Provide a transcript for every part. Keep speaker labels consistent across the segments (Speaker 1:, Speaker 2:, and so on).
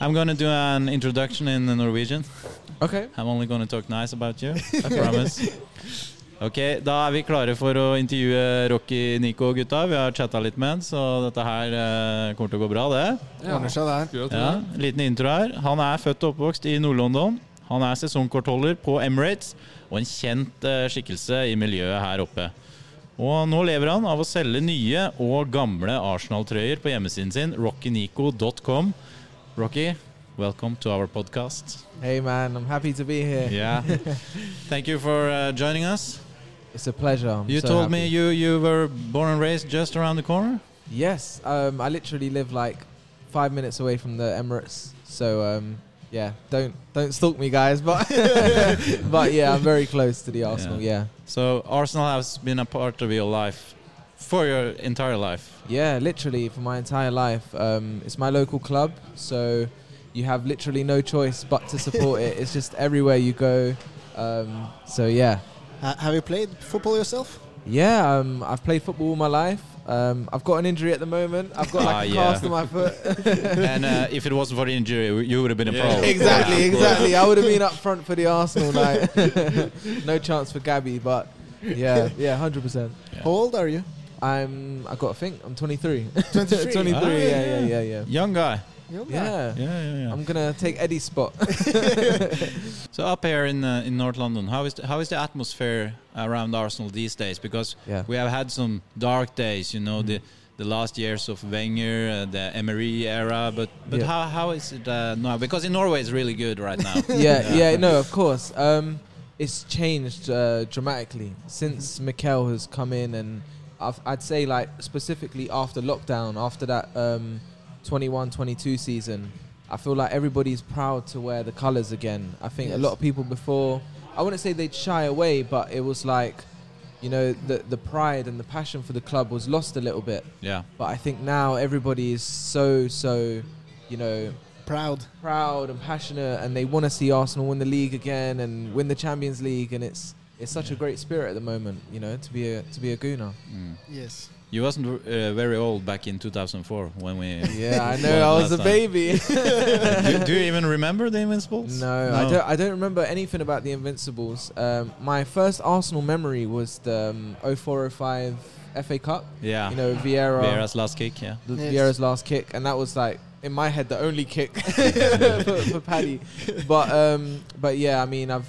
Speaker 1: I'm gonna do an introduction in Norwegian.
Speaker 2: Okay.
Speaker 1: I'm only gonna talk nice about you. I promise. Ok, Da er vi klare for å intervjue Rocky, Nico og gutta. Vi har chatta litt med han, så dette her eh, kommer til å gå bra, det.
Speaker 2: Ordner seg der.
Speaker 3: Skulle jeg tro
Speaker 1: Ja,
Speaker 3: det.
Speaker 1: liten intro her. Han er født og oppvokst i Nord-London. Han er sesongkortholder på Emirates og en kjent eh, skikkelse i miljøet her oppe. Og nå lever han av å selge nye og gamle Arsenal-trøyer på hjemmesiden sin, rockynico.com. Rocky, welcome to our podcast.
Speaker 2: Hey man, I'm happy to be here.
Speaker 1: Yeah. Thank you for uh, joining us.
Speaker 2: It's a pleasure. I'm
Speaker 1: You
Speaker 2: so
Speaker 1: told
Speaker 2: happy.
Speaker 1: me you, you were born and raised just around the corner?
Speaker 2: Yes, um, I literally live like five minutes away from the Emirates, so um, yeah, don't don't stalk me, guys. But but yeah, I'm very close to the Arsenal. Yeah,
Speaker 1: So Arsenal has been a part of your life for your entire life.
Speaker 2: yeah, literally for my entire life. Um, it's my local club, so you have literally no choice but to support it. It's just everywhere you go. Um, so yeah,
Speaker 4: Ha- have you played football yourself?
Speaker 2: Yeah, um, I've played football all my life. Um, I've got an injury at the moment. I've got
Speaker 1: Ah,
Speaker 2: like a
Speaker 1: yeah.
Speaker 2: cast on my foot.
Speaker 1: and uh, if it wasn't for the injury, you would have been a pro.
Speaker 3: Yeah.
Speaker 2: exactly,
Speaker 3: Yeah.
Speaker 2: exactly. I would have been up front for the Arsenal night. no chance for Gabby, but yeah, yeah, hundred percent.
Speaker 1: Yeah.
Speaker 4: How old are you?
Speaker 2: I'm. I got to think. I'm 23.
Speaker 1: Ah,
Speaker 2: 23.
Speaker 4: 23.
Speaker 2: yeah,
Speaker 1: yeah.
Speaker 2: yeah, yeah, yeah.
Speaker 1: Young guy.
Speaker 4: Young guy.
Speaker 2: Yeah.
Speaker 1: Yeah, yeah, yeah.
Speaker 2: I'm gonna take Eddie's spot.
Speaker 1: So up here in uh, in North London, how is the, how is the atmosphere around Arsenal these days? Because
Speaker 2: yeah.
Speaker 1: we have had some dark days, you know, the the last years of Wenger, uh, the Emery era. But but
Speaker 2: Yeah.
Speaker 1: how how is it uh, now? Because in Norway it's really good right now. Uh,
Speaker 2: yeah, yeah, no, of course. Um, it's changed uh, dramatically since Mikel has come in, and I've, I'd say, like, specifically after lockdown, after that um, 21 22 season, I feel like everybody's proud to wear the colours again. I think a
Speaker 4: Yes.
Speaker 2: lot of people before, I wouldn't say they'd shy away, but it was like, you know, the, the pride and the passion for the club was lost a little bit.
Speaker 1: yeah.
Speaker 2: But I think now everybody is so, so, you know,
Speaker 4: Proud.
Speaker 2: proud and passionate, and they want to see Arsenal win the league again and win the Champions League. And it's it's such a great spirit at the moment, you know, to be a to be a gooner.
Speaker 1: Mm.
Speaker 4: Yes.
Speaker 1: You wasn't uh, very old back in 2004 when we.
Speaker 2: Yeah,
Speaker 1: Well,
Speaker 2: I know. I was
Speaker 1: last
Speaker 2: a
Speaker 1: time.
Speaker 2: baby.
Speaker 1: do, do you even remember the Invincibles?
Speaker 2: no, I don't. I don't remember anything about the Invincibles. Um, my first Arsenal memory was the um, 0405 FA Cup.
Speaker 1: Yeah.
Speaker 2: You know, Ah. Vieira,
Speaker 1: Vieira's last kick. Yeah.
Speaker 2: the
Speaker 4: Yes.
Speaker 2: Vieira's last kick, and that was like in my head the only kick for, for Paddy. But um, but yeah, I mean, I've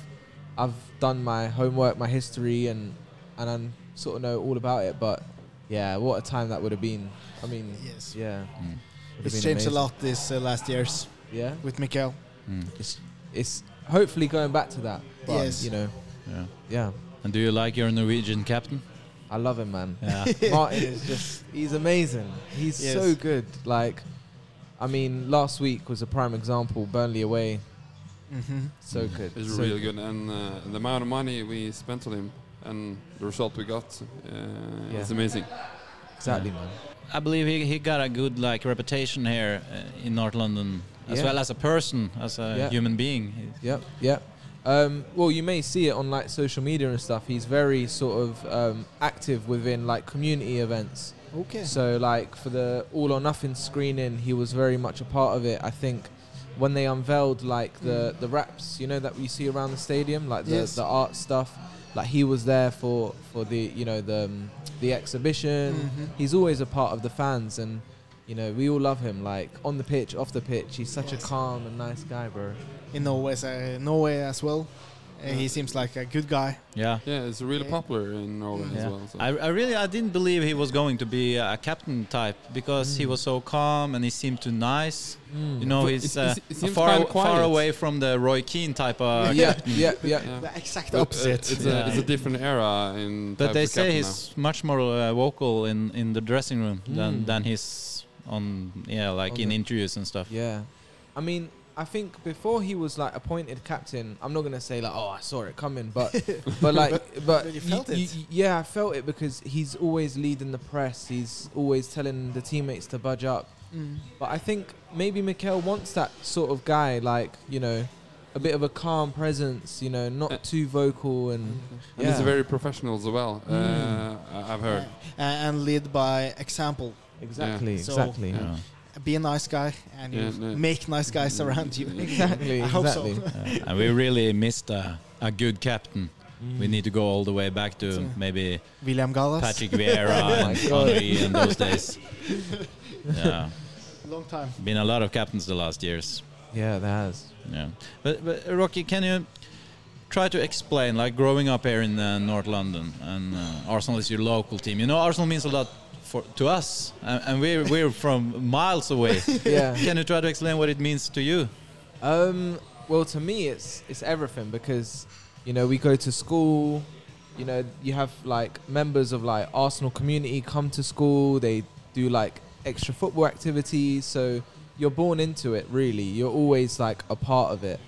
Speaker 2: I've done my homework, my history, and and I sort of know all about it. But yeah, what a time that would have been. I mean,
Speaker 4: Yes.
Speaker 2: yeah,
Speaker 1: Mm.
Speaker 2: would've
Speaker 4: It's
Speaker 2: been
Speaker 4: changed
Speaker 2: amazing.
Speaker 4: a lot these uh, last years
Speaker 2: Yeah,
Speaker 4: with Mikel.
Speaker 1: Mm.
Speaker 2: it's it's hopefully going back to that. But,
Speaker 4: Yes.
Speaker 2: you know,
Speaker 1: Yeah.
Speaker 2: yeah,
Speaker 1: And do you like your Norwegian captain?
Speaker 2: I love him, man.
Speaker 1: Yeah.
Speaker 2: Martin is just he's amazing. He's
Speaker 4: Yes.
Speaker 2: so good. Like I mean, last week was a prime example, Burnley away.
Speaker 4: Mm-hmm.
Speaker 2: So good.
Speaker 3: It's
Speaker 2: so
Speaker 3: really good, and uh, the amount of money we spent on him and the result we got uh,
Speaker 2: Yeah.
Speaker 3: is amazing.
Speaker 2: Exactly, man.
Speaker 1: I believe he, he got a good like reputation here uh, in North London as
Speaker 2: Yeah.
Speaker 1: well as a person, as a
Speaker 2: Yeah.
Speaker 1: human being.
Speaker 2: Yep, yep. Um, well, you may see it on like social media and stuff. He's very sort of um, active within like community events.
Speaker 4: Okay.
Speaker 2: So like for the All or Nothing screening, he was very much a part of it. I think when they unveiled like the the wraps, you know that we see around the stadium, like the,
Speaker 4: Mm. Yes.
Speaker 2: the art stuff, like he was there for for the you know the um, the
Speaker 3: um,
Speaker 2: exhibition.
Speaker 4: Mhm.
Speaker 2: He's always a part of the fans and. You know, we all love him. Like on the pitch, off the pitch, he's such
Speaker 4: Yes.
Speaker 2: a calm and nice guy, bro.
Speaker 4: In Norway, uh, Norway as well. Uh, he seems like a good guy.
Speaker 1: Yeah.
Speaker 3: Yeah, it's really
Speaker 4: Yeah.
Speaker 3: popular in Norway as
Speaker 1: Yeah.
Speaker 3: well. So.
Speaker 1: I, I really I didn't believe he was going to be a captain type because he was so calm and he seemed too nice. You know,
Speaker 3: But
Speaker 1: he's
Speaker 3: it-
Speaker 1: uh,
Speaker 3: it- it seems
Speaker 1: far,
Speaker 3: kinda
Speaker 1: aw- far
Speaker 3: quiet.
Speaker 1: away from the Roy Keane type
Speaker 4: uh,
Speaker 1: of.
Speaker 2: yeah, yeah, yeah.
Speaker 3: Yeah.
Speaker 4: The exact
Speaker 3: But, uh,
Speaker 4: opposite.
Speaker 3: It's,
Speaker 1: Yeah.
Speaker 3: a, it's a different era in.
Speaker 1: But
Speaker 3: type
Speaker 1: they
Speaker 3: of
Speaker 1: say
Speaker 3: captain
Speaker 1: he's much more uh, vocal in, in the dressing room than
Speaker 2: Mm.
Speaker 1: than he's on yeah like
Speaker 2: On
Speaker 1: in
Speaker 2: the-
Speaker 1: interviews and stuff.
Speaker 2: Yeah. I mean, I think before he was like appointed captain, I'm not gonna say like, oh, I saw it coming, but but like, but,
Speaker 4: but you felt it.
Speaker 2: yeah, I felt it because he's always leading the press. He's always telling the teammates to budge up.
Speaker 4: Mm.
Speaker 2: But I think maybe Mikel wants that sort of guy, like you know, a bit of a calm presence. You know,
Speaker 3: Uh,
Speaker 2: not too vocal and
Speaker 3: And
Speaker 2: yeah,
Speaker 3: he's very professional as well.
Speaker 1: Mm.
Speaker 3: Uh, I- I've heard.
Speaker 4: Uh, and lead by example.
Speaker 2: exactly,
Speaker 4: So-
Speaker 2: exactly.
Speaker 1: Yeah.
Speaker 4: Uh, be a nice guy and you
Speaker 3: Yeah, Mm-hmm. no.
Speaker 4: make nice guys around you.
Speaker 2: Exactly,
Speaker 4: I hope so.
Speaker 2: exactly.
Speaker 1: Yeah, Uh, and we really missed a, a good captain. We need to go all the way back to
Speaker 4: Yeah.
Speaker 1: maybe
Speaker 4: William Gallas.
Speaker 1: Patrick Vieira
Speaker 2: Oh my
Speaker 1: and
Speaker 2: God.
Speaker 1: Henry in those days. Yeah,
Speaker 4: Long time.
Speaker 1: been a lot of captains the last years.
Speaker 2: Yeah, that has.
Speaker 1: Yeah, but, but uh, Rocky, can you try to explain, like growing up here in uh, North London, and uh, Arsenal is your local team. You know, Arsenal means a lot for to us, and, and we're we're from miles away.
Speaker 2: Yeah.
Speaker 1: Can you try to explain what it means to you?
Speaker 2: Um, well, to me, it's it's everything because you know we go to school. You know, you have like members of like Arsenal community come to school. They do like extra football activities. So you're born into it. Really, you're always like a part of it.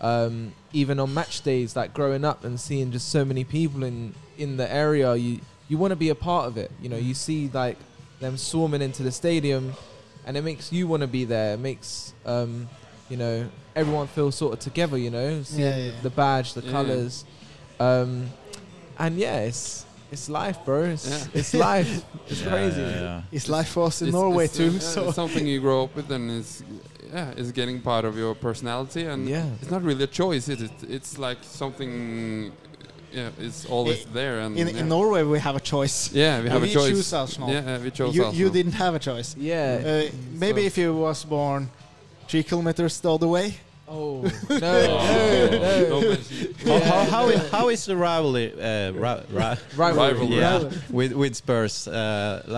Speaker 2: Um, even on match days, like growing up and seeing just so many people in in the area, you you want to be a part of it. You know, you see like them swarming into the stadium, and it makes you want to be there. It makes um, you know everyone feel sort of together. You know, seeing
Speaker 4: Yeah, yeah.
Speaker 2: the badge, the
Speaker 3: Yeah.
Speaker 2: colours, um, and yeah, it's it's life, bro. It's,
Speaker 3: Yeah.
Speaker 2: it's life. It's
Speaker 1: Yeah,
Speaker 2: crazy.
Speaker 1: yeah, yeah.
Speaker 4: It's life for us in
Speaker 3: It's-
Speaker 4: Norway
Speaker 3: it's, uh,
Speaker 4: too.
Speaker 3: yeah,
Speaker 4: so
Speaker 3: it's something you grow up with, and it's yeah, it's getting part of your personality, and
Speaker 2: Yeah.
Speaker 3: it's not really a choice. Is it? It's like something. Yeah, it's always there, and
Speaker 4: in,
Speaker 3: yeah.
Speaker 4: in Norway we have a choice.
Speaker 3: yeah, we have
Speaker 4: we
Speaker 3: a choice.
Speaker 4: choose Arsenal.
Speaker 3: Yeah, we chose
Speaker 4: You, you
Speaker 3: Arsenal.
Speaker 4: didn't have a choice.
Speaker 2: Yeah.
Speaker 4: Uh, maybe
Speaker 3: So-
Speaker 4: if you was born three kilometers the other way.
Speaker 2: Oh no,
Speaker 1: Oh.
Speaker 2: no, no.
Speaker 3: No mention.
Speaker 1: How,
Speaker 2: Yeah.
Speaker 1: how, how, i- how is the rivalry? Uh, ra- ra-
Speaker 2: Rivalry.
Speaker 3: Rivalry.
Speaker 1: yeah,
Speaker 4: Rivalry.
Speaker 1: with with Spurs, uh,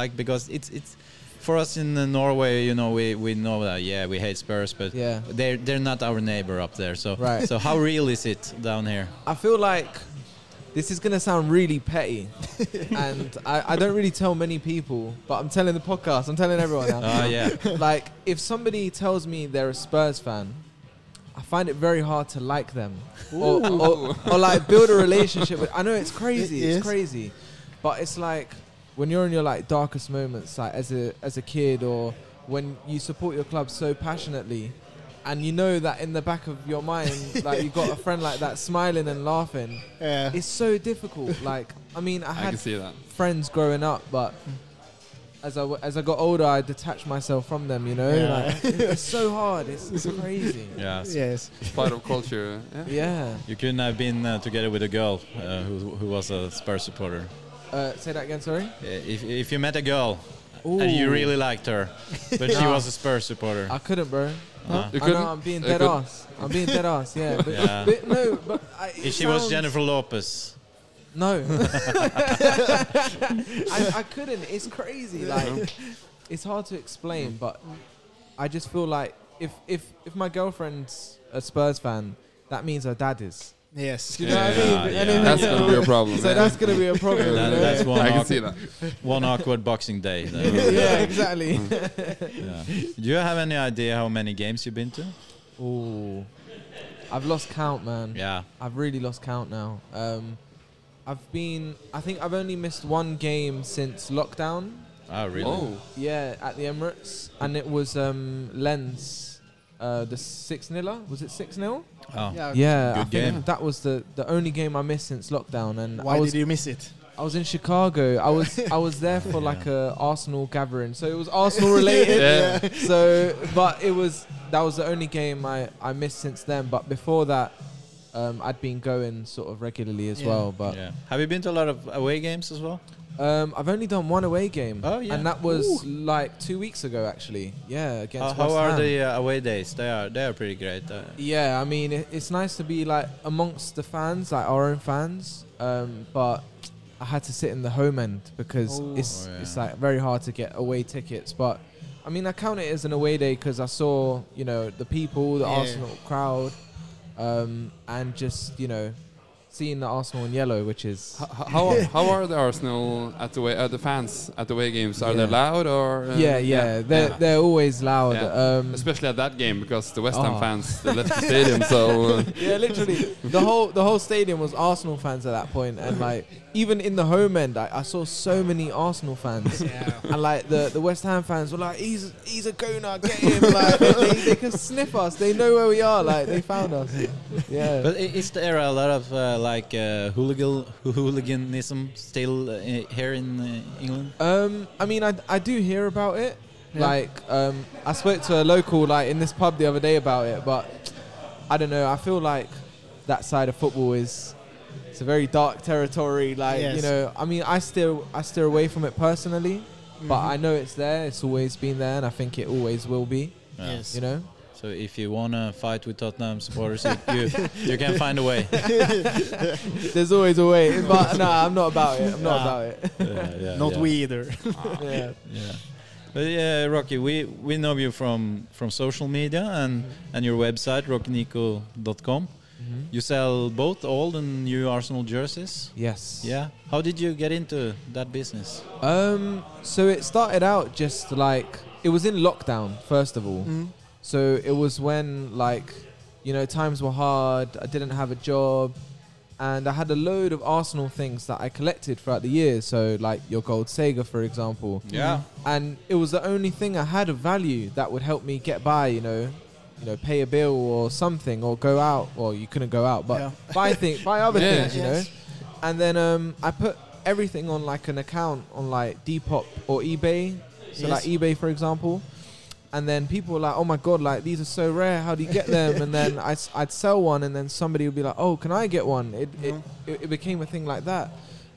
Speaker 1: like because it's it's for us in uh, Norway, you know, we, we know that yeah, we hate Spurs, but
Speaker 2: Yeah.
Speaker 1: they're they're not our neighbor up there. So
Speaker 2: Right.
Speaker 1: so how real is it down here?
Speaker 2: I feel like this is gonna sound really petty, and I, I don't really tell many people, but I'm telling the podcast, I'm telling everyone now.
Speaker 1: Ah, yeah,
Speaker 2: Like, if somebody tells me they're a Spurs fan, I find it very hard to like them or, or, or like build a relationship with. I know it's crazy,
Speaker 4: It
Speaker 2: it's
Speaker 4: is.
Speaker 2: crazy, but it's like when you're in your like darkest moments, like as a as a kid, or when you support your club so passionately, and you know that in the back of your mind, like you got a friend like that smiling and laughing.
Speaker 4: Uh,
Speaker 2: It's so difficult. Like, I mean, I
Speaker 3: I
Speaker 2: had
Speaker 3: can see that.
Speaker 2: friends growing up, but as I, w- as I got older, I detached myself from them, you know?
Speaker 4: Yeah.
Speaker 2: Like, it's so hard. It's, it's crazy.
Speaker 1: yeah. so
Speaker 4: yes.
Speaker 3: It's part of culture. Yeah.
Speaker 2: Yeah.
Speaker 1: You couldn't have been uh, together with a girl uh, who who was a Spurs supporter.
Speaker 2: Uh, say that again, sorry?
Speaker 1: Uh, If if you met a girl
Speaker 2: Ooh.
Speaker 1: and you really liked her, but she
Speaker 2: No.
Speaker 1: was a Spurs supporter.
Speaker 2: I couldn't, bro.
Speaker 1: Uh,
Speaker 3: You
Speaker 2: I
Speaker 3: couldn't?
Speaker 2: know I'm being
Speaker 3: I
Speaker 2: dead
Speaker 3: couldn't.
Speaker 2: ass. I'm being dead ass, yeah. But,
Speaker 1: Yeah.
Speaker 2: but no, but I, it
Speaker 1: if she was
Speaker 2: sounds-
Speaker 1: Jennifer Lopez,
Speaker 2: No. I, I couldn't. It's crazy. Like, it's hard to explain, but I just feel like if if if my girlfriend's a Spurs fan, that means her dad is.
Speaker 4: Yes.
Speaker 2: Do you know what I
Speaker 1: Yeah,
Speaker 2: mean?
Speaker 1: yeah,
Speaker 2: Anything
Speaker 3: That's
Speaker 1: Yeah.
Speaker 3: gonna be a problem.
Speaker 2: So
Speaker 3: yeah.
Speaker 2: that's gonna be a problem. you
Speaker 1: That-
Speaker 2: know?
Speaker 1: that's one
Speaker 3: I can
Speaker 1: awkward,
Speaker 3: see that.
Speaker 1: one awkward Boxing Day. then.
Speaker 2: yeah, exactly.
Speaker 1: Yeah. Do you have any idea how many games you've been to?
Speaker 2: Ooh, I've lost count, man.
Speaker 1: Yeah.
Speaker 2: I've really lost count now. Um, I've been. I think I've only missed one game since lockdown.
Speaker 1: Oh, really?
Speaker 3: Oh,
Speaker 2: Yeah, at the Emirates, and it was um, Lens, uh, the six niler. Was it six nil?
Speaker 1: Oh.
Speaker 4: Yeah.
Speaker 2: Yeah,
Speaker 1: Good
Speaker 2: I think
Speaker 1: game.
Speaker 2: that was the, the only game I missed since lockdown, and
Speaker 4: Why
Speaker 2: I was
Speaker 4: did you miss it?
Speaker 2: I was in Chicago. I was I was there for like a Arsenal gathering, so it was Arsenal related.
Speaker 3: Yeah.
Speaker 2: So, but it was that was the only game I I missed since then. But before that, um, I'd been going sort of regularly as
Speaker 4: Yeah.
Speaker 2: well. But
Speaker 1: Yeah. Have you been to a lot of away games as well?
Speaker 2: um, I've only done one away game.
Speaker 1: Oh, yeah.
Speaker 2: and that was like two weeks ago actually. Yeah,
Speaker 1: How,
Speaker 2: against
Speaker 1: how
Speaker 2: West
Speaker 1: are
Speaker 2: Ham.
Speaker 1: the uh, away days? They are they are pretty great. Uh,
Speaker 2: Yeah, I mean it, it's nice to be like amongst the fans, like our own fans. Um, but I had to sit in the home end because
Speaker 4: Oh.
Speaker 2: it's
Speaker 1: Oh, yeah.
Speaker 2: it's like very hard to get away tickets. But I mean I count it as an away day because I saw you know the people, the
Speaker 4: Yeah.
Speaker 2: Arsenal crowd, um, and just you know seeing the Arsenal in yellow, which is
Speaker 3: H- h- how how are the Arsenal at the way? Uh, the fans at the way games are they
Speaker 2: Yeah.
Speaker 3: loud or? uh,
Speaker 2: yeah, yeah, they're
Speaker 3: yeah.
Speaker 2: they're always loud.
Speaker 3: Yeah.
Speaker 2: Um,
Speaker 3: Especially at that game because the West Ham
Speaker 2: Oh.
Speaker 3: fans they left the stadium. So uh,
Speaker 2: Yeah, literally. The whole the whole stadium was Arsenal fans at that point, and like even in the home end, I, I saw so many Arsenal fans,
Speaker 4: Yeah.
Speaker 2: and like the, the West Ham fans were like, "He's he's a goner, get him!" Like they, they, they can sniff us, they know where we are, like they found us. Yeah,
Speaker 1: but i- is there a lot of uh, like uh, hooligan hooliganism still uh, i- here in uh, England?
Speaker 2: Um, I mean, I, I do hear about it.
Speaker 4: Yeah.
Speaker 2: Like um, I spoke to a local like in this pub the other day about it, but I don't know. I feel like that side of football is it's a very dark territory. Like you
Speaker 4: Yes.
Speaker 2: know, I mean, I steer I steer away from it personally, but
Speaker 4: Mhm.
Speaker 2: I know it's there. It's always been there, and I think it always will be.
Speaker 1: Yeah.
Speaker 4: Yes.
Speaker 2: You know,
Speaker 1: So if you wanna fight with Tottenham supporters, you, you can find a way.
Speaker 2: there's always a way. But no, I'm not about it. I'm not
Speaker 4: Nah.
Speaker 2: about it.
Speaker 1: Yeah, yeah,
Speaker 4: Not
Speaker 1: yeah.
Speaker 4: we either.
Speaker 2: yeah.
Speaker 1: Yeah. But yeah, Rocky, we, we know you from, from social media and, and your website, rockynico.com.
Speaker 2: Mhm.
Speaker 1: You sell both old and new Arsenal jerseys.
Speaker 2: Yes.
Speaker 1: Yeah. How did you get into that business?
Speaker 2: Um. So it started out just like it was in lockdown first of all.
Speaker 4: Mm.
Speaker 2: So it was when like you know times were hard. I didn't have a job, and I had a load of Arsenal things that I collected throughout the years. So like your gold Sega, for example,
Speaker 1: Yeah.
Speaker 2: and it was the only thing I had of value that would help me get by. You know. You know, pay a bill or something, or go out. Well, you couldn't go out, but
Speaker 4: Yeah.
Speaker 2: buy things, buy other
Speaker 3: Yeah.
Speaker 2: things. You know,
Speaker 4: Yes.
Speaker 2: and then um, I put everything on like an account on like Depop or eBay. So
Speaker 4: Yes.
Speaker 2: like eBay, for example. And then people were like, "Oh my god, like these are so rare. How do you get them?" and then I'd, I'd sell one, and then somebody would be like, "Oh, can I get one?" It it,
Speaker 4: Mhm.
Speaker 2: it it became a thing like that,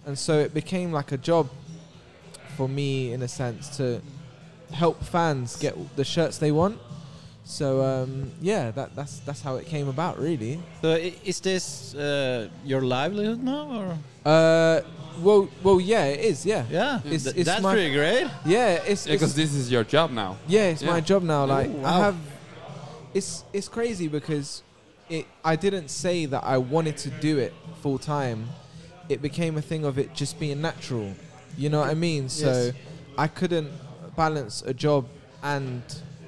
Speaker 2: and so it became like a job for me in a sense to help fans get the shirts they want. So um, yeah, that that's that's how it came about, really.
Speaker 1: So i- is this uh, your livelihood now? Or?
Speaker 2: Uh, well, well, yeah, it is. Yeah,
Speaker 1: Yeah.
Speaker 2: It's-
Speaker 1: Th-
Speaker 2: it's
Speaker 1: that's
Speaker 2: my-
Speaker 1: pretty great.
Speaker 2: Yeah, it's
Speaker 3: Yeah, because
Speaker 2: it's,
Speaker 3: this is your job now.
Speaker 2: yeah, it's
Speaker 3: Yeah.
Speaker 2: my job now. Like
Speaker 4: Ooh,
Speaker 2: I
Speaker 4: wow.
Speaker 2: have, it's it's crazy because it. I didn't say that I wanted to do it full time. It became a thing of it just being natural. You know what I mean? So
Speaker 4: Yes.
Speaker 2: I couldn't balance a job and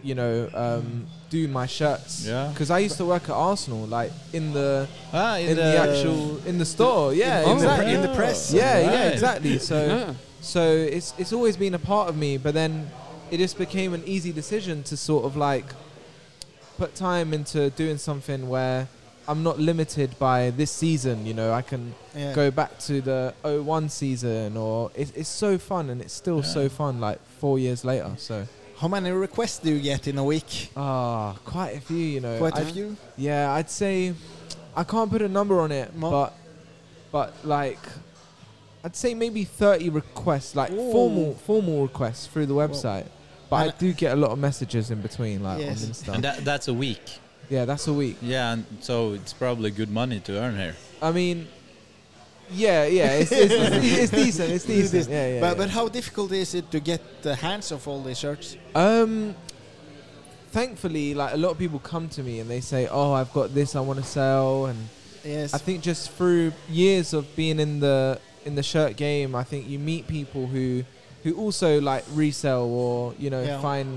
Speaker 2: you know um, do my shirts.
Speaker 1: Yeah.
Speaker 2: Because I used to work at Arsenal, like in the
Speaker 1: Ah,
Speaker 2: in, the, actual in the store. Yeah,
Speaker 4: in the
Speaker 2: exactly.
Speaker 4: pre- in the press.
Speaker 2: yeah, yeah,
Speaker 1: Right.
Speaker 2: exactly. So.
Speaker 3: Yeah.
Speaker 2: So it's it's always been a part of me, but then it just became an easy decision to sort of like put time into doing something where I'm not limited by this season. You know, I can
Speaker 4: Yeah.
Speaker 2: go back to the 01 season, or it's it's so fun, and it's still
Speaker 1: Yeah.
Speaker 2: so fun. Like four years later, so
Speaker 4: How many requests do you get in a week?
Speaker 2: ah, quite a few. You know,
Speaker 4: Quite a
Speaker 2: I've-
Speaker 4: few.
Speaker 2: yeah, I'd say I can't put a number on it,
Speaker 4: Mo-
Speaker 2: but but like I'd say maybe 30 requests, like
Speaker 4: Ooh.
Speaker 2: formal formal requests through the website. But I
Speaker 4: And-
Speaker 2: do get a lot of messages in between, like
Speaker 4: Yes.
Speaker 2: on
Speaker 1: And
Speaker 2: Insta.
Speaker 1: that, that's a week.
Speaker 2: Yeah, that's a week.
Speaker 1: Yeah, and so it's probably good money to earn here.
Speaker 2: I mean, yeah, yeah, it's, it's, it's, it's decent, it's decent. Yeah, yeah.
Speaker 4: but, but
Speaker 2: yeah.
Speaker 4: how difficult is it to get the hands of all these shirts?
Speaker 2: Um, thankfully, like a lot of people come to me and they say, "Oh, I've got this I want to sell," and
Speaker 4: Yes.
Speaker 2: I think just through years of being in the in the shirt game, I think you meet people who who also like resell or you know
Speaker 4: Yeah.
Speaker 2: find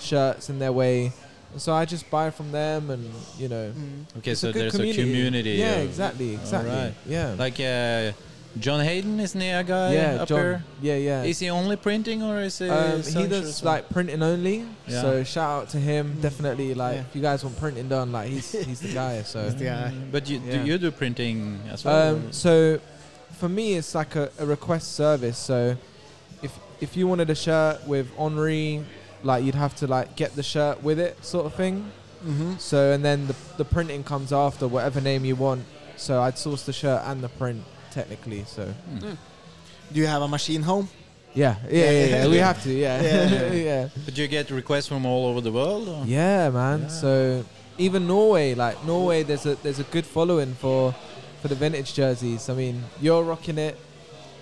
Speaker 2: shirts in their way. And so I just buy from them, and you know,
Speaker 4: Mm.
Speaker 1: Okay,
Speaker 2: it's
Speaker 1: so
Speaker 2: a good
Speaker 1: there's
Speaker 2: community.
Speaker 1: a community.
Speaker 2: Yeah,
Speaker 1: of-
Speaker 2: exactly, exactly.
Speaker 1: Alright.
Speaker 2: Yeah,
Speaker 1: Like uh, John Hayden, isn't he a guy
Speaker 2: yeah,
Speaker 1: up
Speaker 2: John.
Speaker 1: here?
Speaker 2: Yeah, yeah.
Speaker 1: Is he only printing or is he?
Speaker 2: um, he
Speaker 1: selling shirts
Speaker 2: does
Speaker 1: or-
Speaker 2: like printing only,
Speaker 1: Yeah.
Speaker 2: so shout out to him. Definitely, like
Speaker 4: Mm. Yeah.
Speaker 2: if you guys want printing done, like he's he's the guy. So
Speaker 4: He's the guy.
Speaker 1: But you,
Speaker 2: Yeah.
Speaker 1: do you do printing as well?
Speaker 2: Um, so for me, it's like a, a request service. So if if you wanted a shirt with Henri, like you'd have to like get the shirt with it, sort of thing.
Speaker 4: hmm
Speaker 2: So and then the the printing comes after, whatever name you want. So I'd source the shirt and the print technically. So
Speaker 1: Hmm.
Speaker 4: Do you have a machine home?
Speaker 2: yeah, yeah, yeah, yeah.
Speaker 4: yeah.
Speaker 2: we have to, yeah,
Speaker 4: Yeah.
Speaker 2: yeah, yeah,
Speaker 1: but you get requests from all over the world? Or?
Speaker 2: man.
Speaker 1: Yeah.
Speaker 2: So even Norway, like Norway, there's a there's a good following for for the vintage jerseys. I mean, you're rocking it.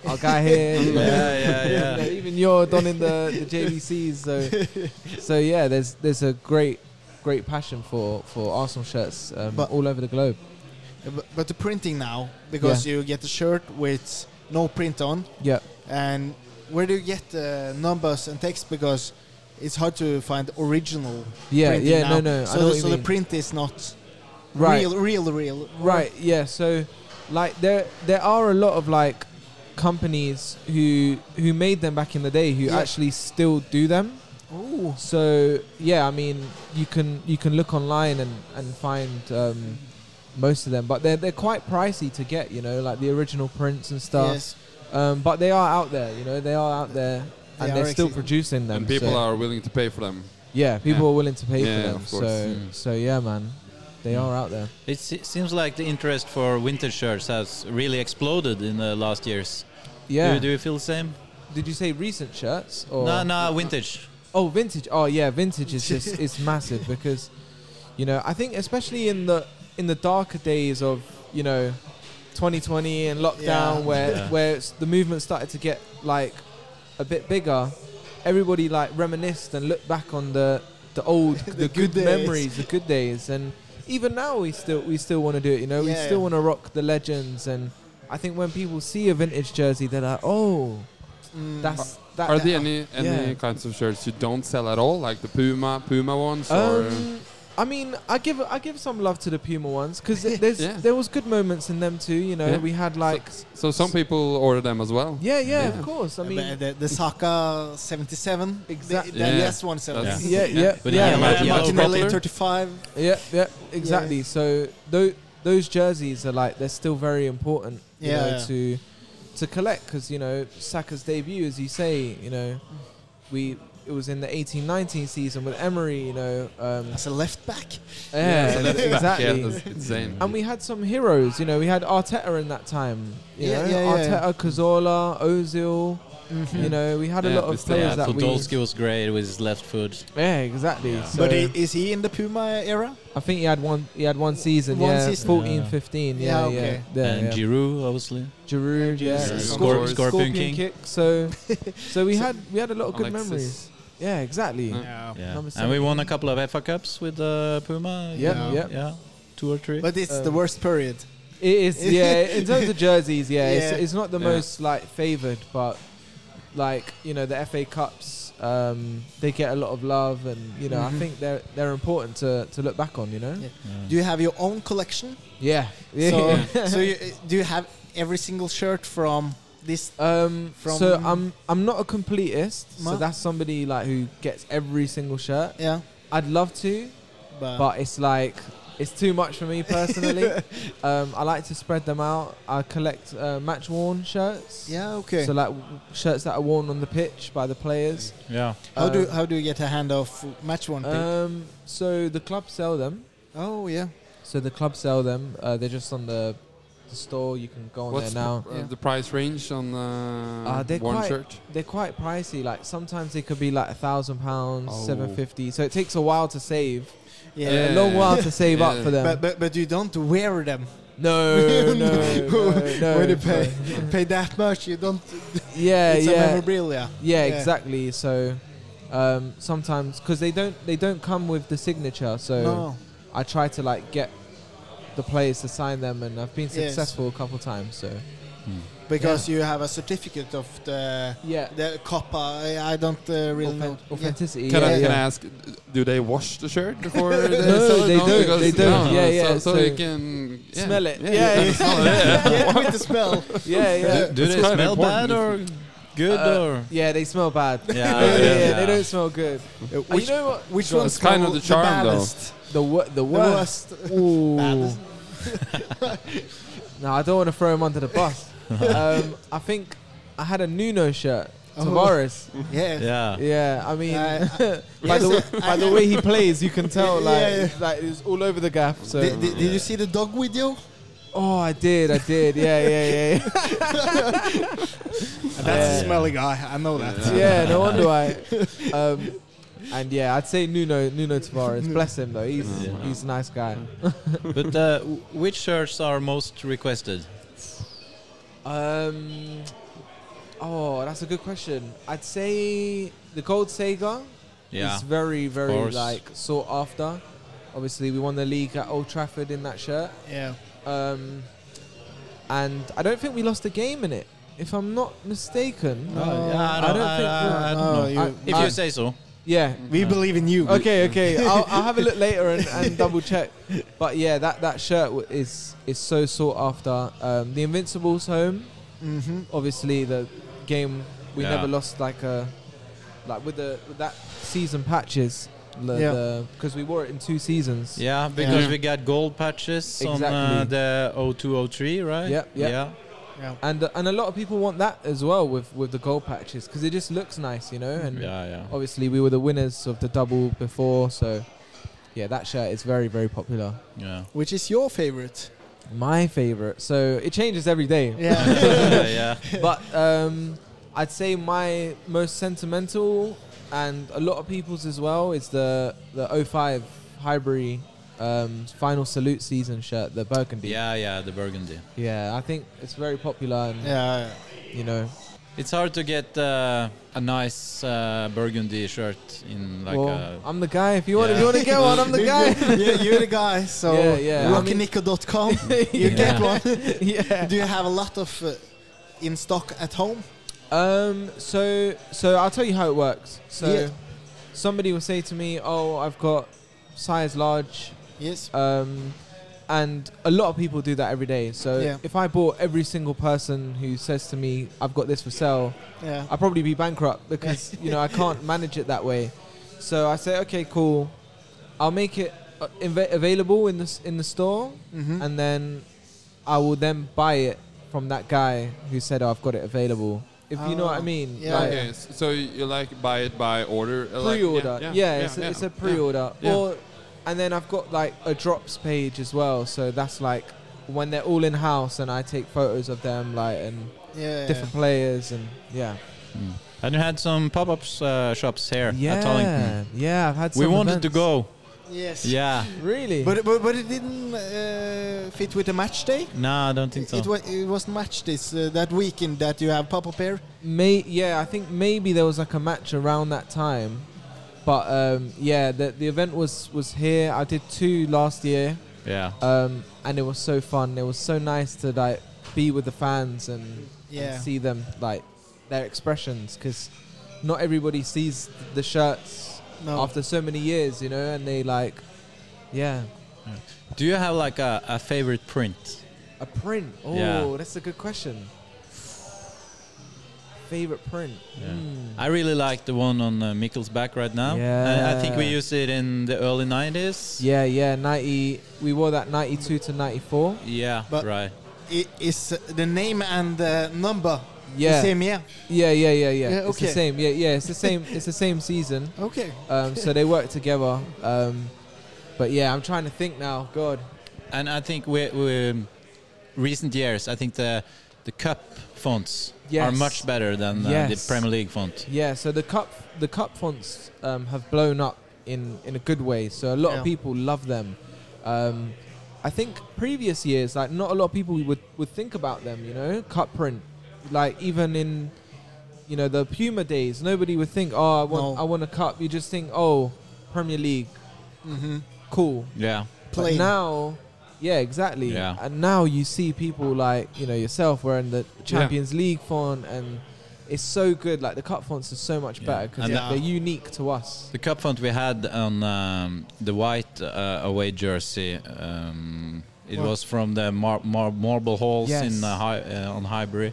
Speaker 2: Our guy here, you know.
Speaker 1: yeah, yeah,
Speaker 2: Yeah,
Speaker 1: yeah.
Speaker 2: even you're donning the, the JVCs, so so yeah, there's there's a great great passion for for Arsenal shirts um,
Speaker 4: But-
Speaker 2: all over the globe.
Speaker 4: But, but the printing now, because you get a shirt with no print on,
Speaker 2: Yeah,
Speaker 4: and where do you get the numbers and text? Because it's hard to find original.
Speaker 2: yeah,
Speaker 4: printing
Speaker 2: yeah.
Speaker 4: now.
Speaker 2: No, no. I
Speaker 4: So,
Speaker 2: know
Speaker 4: the,
Speaker 2: what you
Speaker 4: so the
Speaker 2: mean.
Speaker 4: print is not
Speaker 2: right,
Speaker 4: real, real, real.
Speaker 2: right. Yeah. So like there there are a lot of like companies who who made them back in the day who
Speaker 4: Yeah.
Speaker 2: actually still do them.
Speaker 4: Ooh.
Speaker 2: So yeah, I mean you can you can look online and and find. Um, most of them, but they're they're quite pricey to get, you know, like the original prints and stuff.
Speaker 4: Yes.
Speaker 2: Um, but they are out there, you know, they are out there. and
Speaker 4: They
Speaker 2: they're
Speaker 4: are
Speaker 2: still
Speaker 4: existing.
Speaker 2: producing them.
Speaker 3: and people
Speaker 2: so-
Speaker 3: are willing to pay for them.
Speaker 2: yeah, people
Speaker 3: Yeah.
Speaker 2: are willing to pay
Speaker 3: Yeah,
Speaker 2: for them.
Speaker 3: of
Speaker 2: So
Speaker 3: course. Mm.
Speaker 2: so yeah, man, they
Speaker 1: Mm.
Speaker 2: are out there.
Speaker 1: It se- seems like the interest for winter shirts has really exploded in the last years.
Speaker 2: Yeah. Oh.
Speaker 1: Do, do you feel the same?
Speaker 2: Did you say recent shirts or
Speaker 1: No, no, vintage.
Speaker 2: Oh, vintage. Oh yeah, vintage is just it's massive because you know, I think especially in the in the darker days of, you know, 2020 and lockdown
Speaker 4: Yeah.
Speaker 2: where
Speaker 1: Yeah.
Speaker 2: where it's, the movement started to get like a bit bigger, everybody like reminisced and looked back on the the old the, good,
Speaker 4: good days.
Speaker 2: memories, the good days and even now we still we still want to do it, you know. we
Speaker 4: Yeah,
Speaker 2: still
Speaker 4: yeah.
Speaker 2: want to rock the legends and I think when people see a vintage jersey they're like, "Oh,
Speaker 4: Mm.
Speaker 2: that's that
Speaker 3: Are there any any
Speaker 2: Uh, yeah.
Speaker 3: kinds of shirts you don't sell at all, like the Puma Puma ones? or
Speaker 2: Um, I mean, I give I give some love to the Puma ones because there's
Speaker 3: Yeah.
Speaker 2: there was good moments in them too. You know,
Speaker 3: Yeah.
Speaker 2: we had like
Speaker 3: so some people order them as well.
Speaker 2: yeah, yeah,
Speaker 3: Yeah.
Speaker 2: of course. I
Speaker 4: Uh,
Speaker 2: mean,
Speaker 4: the, the, the Saka 77.
Speaker 2: Exact-
Speaker 4: The, the
Speaker 3: Yeah.
Speaker 4: last one
Speaker 3: That's-
Speaker 4: 77.
Speaker 2: yeah,
Speaker 3: Yeah.
Speaker 2: yeah,
Speaker 1: But
Speaker 2: yeah,
Speaker 1: yeah,
Speaker 2: yeah,
Speaker 1: yeah.
Speaker 3: Yellow
Speaker 4: Martinelli
Speaker 3: Poplar.
Speaker 4: 35.
Speaker 2: yeah, exactly. So those those jerseys are like they're still very important. You
Speaker 4: Yeah,
Speaker 2: know,
Speaker 4: yeah.
Speaker 2: to to collect because you know Saka's debut, as you say, you know, we it was in the 18-19 season with Emery. You know, um,
Speaker 4: As a left back.
Speaker 2: yeah,
Speaker 3: so that's back,
Speaker 2: exactly.
Speaker 3: Yeah, that's insane.
Speaker 2: And we had some heroes, you know. We had Arteta in that time, you
Speaker 4: Yeah,
Speaker 2: know.
Speaker 4: yeah, yeah.
Speaker 2: Arteta, Cazorla, Ozil.
Speaker 4: Hmm. Mm-hmm.
Speaker 2: You know, we had a
Speaker 3: Yeah,
Speaker 2: lot
Speaker 3: we
Speaker 2: of
Speaker 3: still
Speaker 2: players
Speaker 1: Yeah,
Speaker 2: that we.
Speaker 1: Podolski was great with his left foot.
Speaker 2: Yeah, exactly.
Speaker 1: Yeah.
Speaker 2: So
Speaker 4: But i- is he in the Puma era?
Speaker 2: I think he had one. He had one season.
Speaker 4: One
Speaker 2: yeah,
Speaker 4: season.
Speaker 2: 14,
Speaker 1: Yeah.
Speaker 2: 15. Yeah,
Speaker 4: Yeah, okay.
Speaker 2: yeah. yeah,
Speaker 1: and
Speaker 2: yeah.
Speaker 1: Giroud, obviously.
Speaker 2: Giroud, yeah.
Speaker 4: Giroud.
Speaker 2: Scorpion,
Speaker 3: Scorpion
Speaker 2: Scorpion
Speaker 1: King.
Speaker 2: kick. So, so we had we had a lot of good
Speaker 3: Alexis.
Speaker 2: memories. Yeah, exactly.
Speaker 3: Yeah.
Speaker 1: Yeah.
Speaker 2: Number
Speaker 1: And we
Speaker 2: seven.
Speaker 1: won a couple of FA Cups with uh, Puma.
Speaker 2: Yep,
Speaker 1: yeah.
Speaker 2: yep.
Speaker 1: Yeah, two or three.
Speaker 4: But it's the
Speaker 2: Um,
Speaker 4: worst period.
Speaker 2: It is, yeah. In terms of jerseys, yeah, It's,
Speaker 4: Yeah.
Speaker 2: it's not the
Speaker 3: Yeah.
Speaker 2: most like favored, but like you know, the FA Cups, um, they get a lot of love, and you know, I
Speaker 4: Mhm.
Speaker 2: think they're they're important to, to look back on. You know,
Speaker 4: Yeah.
Speaker 1: Yeah.
Speaker 4: Do you have your own collection?
Speaker 2: yeah,
Speaker 4: So,
Speaker 2: yeah.
Speaker 4: so you, do you have every single shirt from this?
Speaker 2: um,
Speaker 4: From-
Speaker 2: so I'm I'm not a completist, so
Speaker 4: Ma-
Speaker 2: that's somebody like who gets every single shirt.
Speaker 4: Yeah,
Speaker 2: I'd love to,
Speaker 4: but,
Speaker 2: but it's like it's too much for me personally. um, I like to spread them out. I collect uh, match worn shirts.
Speaker 4: yeah, okay.
Speaker 2: So like w- shirts that are worn on the pitch by the players.
Speaker 1: yeah.
Speaker 4: how do
Speaker 2: um,
Speaker 4: how do you get a hand of match one? pick?
Speaker 2: Um, so the club sell them.
Speaker 4: oh yeah,
Speaker 2: So the club sell them. Uh, they're just on the, the store. You can go on
Speaker 3: What's
Speaker 2: there now.
Speaker 3: the, uh, the price range on uh,
Speaker 2: Uh, they're
Speaker 3: one
Speaker 2: quite-
Speaker 3: shirt?
Speaker 2: They're quite pricey. Like sometimes they could be like a thousand pounds,
Speaker 3: Oh.
Speaker 2: seven fifty. So it takes a while to save.
Speaker 4: yeah.
Speaker 2: A long while to save
Speaker 3: Yeah.
Speaker 2: up for them.
Speaker 4: But, but but you don't wear them.
Speaker 2: no, no, no, no.
Speaker 4: when you pay pay that much, you don't.
Speaker 2: Yeah,
Speaker 4: it's a
Speaker 2: yeah.
Speaker 4: memorabilia.
Speaker 2: yeah
Speaker 4: Yeah.
Speaker 2: exactly so um, sometimes because they don't they don't come with the signature so
Speaker 4: No,
Speaker 2: i try to like get the players to sign them and i've been
Speaker 4: Yes.
Speaker 2: successful a couple times so
Speaker 4: because you have a certificate of the
Speaker 2: yeah
Speaker 4: the Copa. I, I don't uh, really know. Yeah.
Speaker 2: authenticity
Speaker 3: Can,
Speaker 2: yeah,
Speaker 3: I,
Speaker 2: yeah.
Speaker 3: can I ask, do they wash the shirt before they
Speaker 2: No,
Speaker 3: sell it?
Speaker 2: they don't,
Speaker 3: because-
Speaker 2: they don't. Yeah, yeah,
Speaker 3: So, so,
Speaker 2: so-
Speaker 3: you can yeah.
Speaker 2: Smell it.
Speaker 3: Yeah,
Speaker 2: Yeah,
Speaker 3: you can
Speaker 2: yeah.
Speaker 3: smell it, yeah.
Speaker 4: yeah, with the smell.
Speaker 2: yeah yeah
Speaker 1: Do, do
Speaker 3: It's
Speaker 1: they
Speaker 3: quite
Speaker 1: smell bad
Speaker 3: important.
Speaker 1: or good
Speaker 2: Uh,
Speaker 1: or?
Speaker 2: yeah they smell bad yeah,
Speaker 1: Yeah,
Speaker 2: yeah,
Speaker 1: yeah,
Speaker 2: they don't smell good
Speaker 4: Uh,
Speaker 2: and you
Speaker 4: Which
Speaker 2: know what
Speaker 4: which
Speaker 2: Go on.
Speaker 4: one's
Speaker 3: It's kind of
Speaker 4: called
Speaker 3: the charm, though.
Speaker 4: ballast?
Speaker 2: the, wor- the
Speaker 4: The
Speaker 2: worst
Speaker 4: worst.
Speaker 2: Ooh.
Speaker 4: Ballast.
Speaker 2: no i don't want to throw him under the bus um, i think i had a nuno shirt
Speaker 4: Oh.
Speaker 2: Tavares.
Speaker 4: Yeah.
Speaker 1: Yeah.
Speaker 2: Yeah, I mean,
Speaker 4: Uh,
Speaker 2: by,
Speaker 4: yes,
Speaker 2: the,
Speaker 4: uh,
Speaker 2: by
Speaker 4: I-
Speaker 2: the way he plays, you can tell like
Speaker 4: Yeah, yeah.
Speaker 2: it's like it's all over the gaff. So
Speaker 4: Did, did, did you see the dog video?
Speaker 2: oh, I did, I did, yeah, yeah, yeah,
Speaker 4: That's
Speaker 2: Yeah.
Speaker 4: a smelly guy. I know that.
Speaker 2: yeah. yeah no wonder I. Um, and yeah, I'd say Nuno Nuno Tavares. Bless him though, he's
Speaker 1: Yeah.
Speaker 2: he's a nice guy.
Speaker 1: But uh, w- which shirts are most requested?
Speaker 2: Um, oh, that's a good question. I'd say the Gold Sega
Speaker 1: Yeah.
Speaker 2: is very very
Speaker 1: course.
Speaker 2: like sought after. Obviously, we won the league at Old Trafford in that shirt.
Speaker 4: Yeah.
Speaker 2: Um, and I don't think we lost a game in it, if I'm not mistaken.
Speaker 1: No, yeah, I don't- I- I- I don't know.
Speaker 4: you-
Speaker 2: Uh, I-
Speaker 1: If
Speaker 2: I-
Speaker 1: you say so.
Speaker 2: yeah.
Speaker 4: we believe in you.
Speaker 2: Okay, okay. I'll, I'll have a look later and, and double check. But yeah, that, that shirt w- is is so sought after. Um, the Invincibles home,
Speaker 4: Mm-hmm.
Speaker 2: obviously the game we
Speaker 1: Yeah.
Speaker 2: never lost like a like with the with that season patches
Speaker 4: Yeah.
Speaker 2: because we wore it in two seasons.
Speaker 1: Yeah, because
Speaker 4: Yeah.
Speaker 1: we got gold patches on uh,
Speaker 2: Exactly.
Speaker 1: the 0203, right?
Speaker 2: Yep, yep.
Speaker 1: Yeah.
Speaker 4: Yeah.
Speaker 2: and uh, and a lot of people want that as well with with the gold patches because it just looks nice, you know. And
Speaker 1: Ja, ja.
Speaker 2: obviously we were the winners of the double before, so yeah, that shirt is very very popular.
Speaker 1: ja.
Speaker 4: Which is your favorite?
Speaker 2: My favorite, so it changes every day.
Speaker 4: Yeah.
Speaker 1: ja.
Speaker 2: but um, I'd say my most sentimental and a lot of people's as well is the the 05 Highbury um, final salute season shirt, the burgundy.
Speaker 1: ja, ja, the burgundy.
Speaker 2: Yeah, I think it's very popular and
Speaker 4: yeah.
Speaker 2: you know,
Speaker 1: It's hard to get uh, a nice uh, burgundy shirt in like
Speaker 2: well,
Speaker 1: a...
Speaker 2: I'm the guy. If you want, if
Speaker 1: Yeah.
Speaker 2: you want to get one, I'm the guy.
Speaker 4: yeah, you're the guy. So
Speaker 2: Yeah, yeah, I mean-
Speaker 4: rockynico.com. You
Speaker 1: Yeah.
Speaker 4: get one.
Speaker 2: yeah.
Speaker 4: Do you have a lot of uh, in stock at home?
Speaker 2: Um. So so I'll tell you how it works. So
Speaker 4: Yeah.
Speaker 2: somebody will say to me, "Oh, I've got size large."
Speaker 4: Yes.
Speaker 2: Um, and a lot of people do that every day. So
Speaker 4: Yeah.
Speaker 2: if I bought every single person who says to me, "I've got this for sale,"
Speaker 4: Yeah.
Speaker 2: I'd probably be bankrupt because you know I can't manage it that way. So I say, "Okay, cool. I'll make it uh, inv- available in the s- in the store,
Speaker 4: Mm-hmm.
Speaker 2: and then I will then buy it from that guy who said oh, I've got it available." If you know what I
Speaker 4: Oh,
Speaker 2: mean,
Speaker 4: yeah.
Speaker 2: like-
Speaker 3: Okay, s- so you like buy it by order? uh, like-
Speaker 2: pre-order. yeah, it's, a, it's a pre-order.
Speaker 3: yeah.
Speaker 2: Or, and then I've got like a drops page as well. So that's like when they're all in house, and I take photos of them, like and
Speaker 4: Yeah.
Speaker 2: different players, and yeah,
Speaker 1: Mm. And you had some pop-up uh, shops here at Tollington.
Speaker 2: yeah. I've had.
Speaker 1: We
Speaker 2: some
Speaker 1: wanted to
Speaker 2: events.
Speaker 1: go.
Speaker 4: Yes.
Speaker 1: Yeah.
Speaker 2: Really?
Speaker 4: But, but but it didn't uh, fit with the match day.
Speaker 1: No, I don't think so.
Speaker 4: It was it was match this uh, that weekend that you have pop up here.
Speaker 2: May yeah, I think maybe there was like a match around that time, but um, yeah, the the event was was here. I did two last year,
Speaker 1: yeah.
Speaker 2: um, and it was so fun. It was so nice to like be with the fans and
Speaker 4: Yeah.
Speaker 2: and see them like their expressions because not everybody sees the shirts
Speaker 4: No.
Speaker 2: after so many years, you know, and they like, yeah,
Speaker 1: Do you have like a, a favorite print?
Speaker 2: a print. Oh,
Speaker 1: Yeah.
Speaker 2: that's a good question. Favorite print?
Speaker 1: Yeah.
Speaker 2: Hmm.
Speaker 1: I really like the one on uh, Mikkel's back right now. I- I think we
Speaker 2: Yeah.
Speaker 1: used it in the early 90s.
Speaker 2: Yeah, yeah, ninety. We wore that ninety-two to ninety-four.
Speaker 1: Yeah,
Speaker 4: But-
Speaker 1: right.
Speaker 4: I- is uh, the name and uh, number the
Speaker 2: Yeah,
Speaker 4: same year?
Speaker 2: yeah, yeah, yeah, yeah.
Speaker 4: Yeah,
Speaker 2: It's the
Speaker 4: okay.
Speaker 2: same. Yeah, yeah. It's the same. It's the same season.
Speaker 4: Okay.
Speaker 2: Um, so they work together. Um, but yeah, I'm trying to think now. God.
Speaker 1: And I think we, we um, recent years, I think the the cup fonts are
Speaker 2: Yes.
Speaker 1: much better than uh,
Speaker 2: Yes.
Speaker 1: the Premier League font.
Speaker 2: Yeah. So the cup, the cup fonts um, have blown up in in a good way. So a lot
Speaker 4: Yeah.
Speaker 2: of people love them. Um, I think previous years, like not a lot of people would would think about them. You know, cup print. Like even in, you know, the Puma days, nobody would think, oh, I want,
Speaker 4: No.
Speaker 2: I want a cup. You just think, oh, Premier League,
Speaker 4: Mm-hmm.
Speaker 2: cool.
Speaker 1: Yeah.
Speaker 2: But
Speaker 4: Plain.
Speaker 2: now, yeah, exactly.
Speaker 1: Yeah.
Speaker 2: And now you see people like you know yourself wearing the Champions League font, and it's so good. Like the cup fonts are so much
Speaker 1: Yeah.
Speaker 2: better because
Speaker 1: And
Speaker 4: the-
Speaker 2: they're unique to us.
Speaker 1: The cup font we had on um, the white uh, away jersey, um, it
Speaker 4: What?
Speaker 1: was from the mar- mar- marble halls
Speaker 2: Yes.
Speaker 1: in uh, Hi- uh, on Highbury.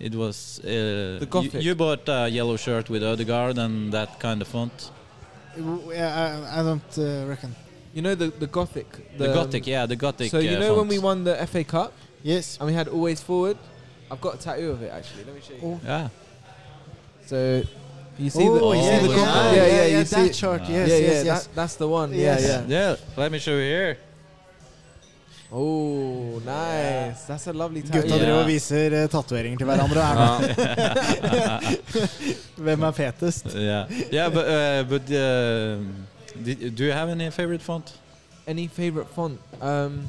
Speaker 1: It was uh, you-
Speaker 2: Gothic.
Speaker 1: You, bought a yellow shirt with Odegaard and that kind of font.
Speaker 4: Yeah, I, I don't uh, reckon.
Speaker 2: You know the the Gothic.
Speaker 1: The, Gothic, yeah, the Gothic.
Speaker 2: So you
Speaker 1: uh,
Speaker 2: know when
Speaker 1: font.
Speaker 2: we won the FA Cup
Speaker 4: Yes.
Speaker 2: and we had always forward. I've got a tattoo of it actually. Let me show you.
Speaker 4: Oh.
Speaker 1: Yeah,
Speaker 2: So you see the,
Speaker 4: oh,
Speaker 1: you
Speaker 4: yeah,
Speaker 2: see the
Speaker 1: yeah,
Speaker 2: Gothic.
Speaker 4: yeah, yeah,
Speaker 2: you
Speaker 4: yeah,
Speaker 2: see
Speaker 4: that chart.
Speaker 1: Ah.
Speaker 4: Yes,
Speaker 2: yeah, yeah,
Speaker 4: yes, yes.
Speaker 2: That, that's the one.
Speaker 4: Yes.
Speaker 2: Yeah, yeah.
Speaker 1: yeah. Let me show you here.
Speaker 2: Oh, nice. That's a lovely tattoo.
Speaker 1: Yeah.
Speaker 4: Gutta driver viser eh, tatovering til hverandre her nå.
Speaker 3: Yeah.
Speaker 4: Hvem er fetest?
Speaker 1: Yeah, yeah, but uh, but uh, did, do you have any favorite font?
Speaker 2: any favorite font? Um,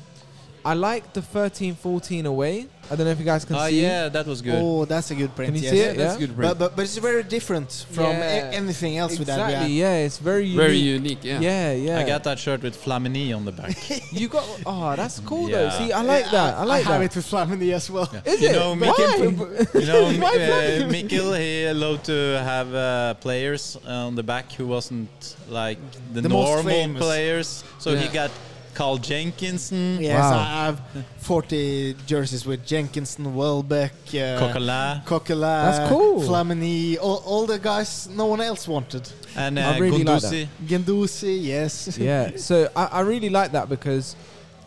Speaker 2: I like the 13, 14 away. I don't know if you guys can
Speaker 1: Ah,
Speaker 2: see.
Speaker 1: yeah, that was good.
Speaker 4: Oh, that's a good print.
Speaker 2: Can you
Speaker 4: yes.
Speaker 2: see it?
Speaker 3: That's
Speaker 2: Yeah.
Speaker 3: good
Speaker 4: But,
Speaker 3: print.
Speaker 4: but, but it's very different from
Speaker 2: Yeah.
Speaker 4: a- anything else with that.
Speaker 2: Exactly.
Speaker 4: we
Speaker 2: Yeah, it's very unique.
Speaker 3: Very unique, yeah.
Speaker 2: Yeah, yeah.
Speaker 1: I got that shirt with Flamini on the back.
Speaker 2: You got. Oh, that's cool
Speaker 1: Yeah.
Speaker 2: though. See, I
Speaker 4: have.
Speaker 2: like that. I like
Speaker 4: Eh, I have
Speaker 2: that.
Speaker 4: it with Flamini as well.
Speaker 1: Yeah.
Speaker 2: Is
Speaker 1: you
Speaker 2: it?
Speaker 1: Know,
Speaker 2: Why?
Speaker 1: Mikkel, you know,
Speaker 2: Why
Speaker 1: uh,
Speaker 2: Flamini?
Speaker 1: Mikkel, he loved to have uh, players on the back who wasn't like the,
Speaker 4: The most
Speaker 1: normal
Speaker 4: famous.
Speaker 1: players. So he
Speaker 3: Yeah.
Speaker 1: got Carl Jenkinson,
Speaker 4: Mm, Yes,
Speaker 2: Wow.
Speaker 4: I have 40 jerseys with Jenkinson, Welbeck, uh,
Speaker 1: Kokala,
Speaker 4: Kokela,
Speaker 2: That's cool.
Speaker 4: Flamini, all, all the guys no one else wanted.
Speaker 1: and
Speaker 2: I
Speaker 1: uh,
Speaker 2: really like
Speaker 1: Guendouzi.
Speaker 4: Gendusi, yes.
Speaker 2: yeah. So I, I really like that because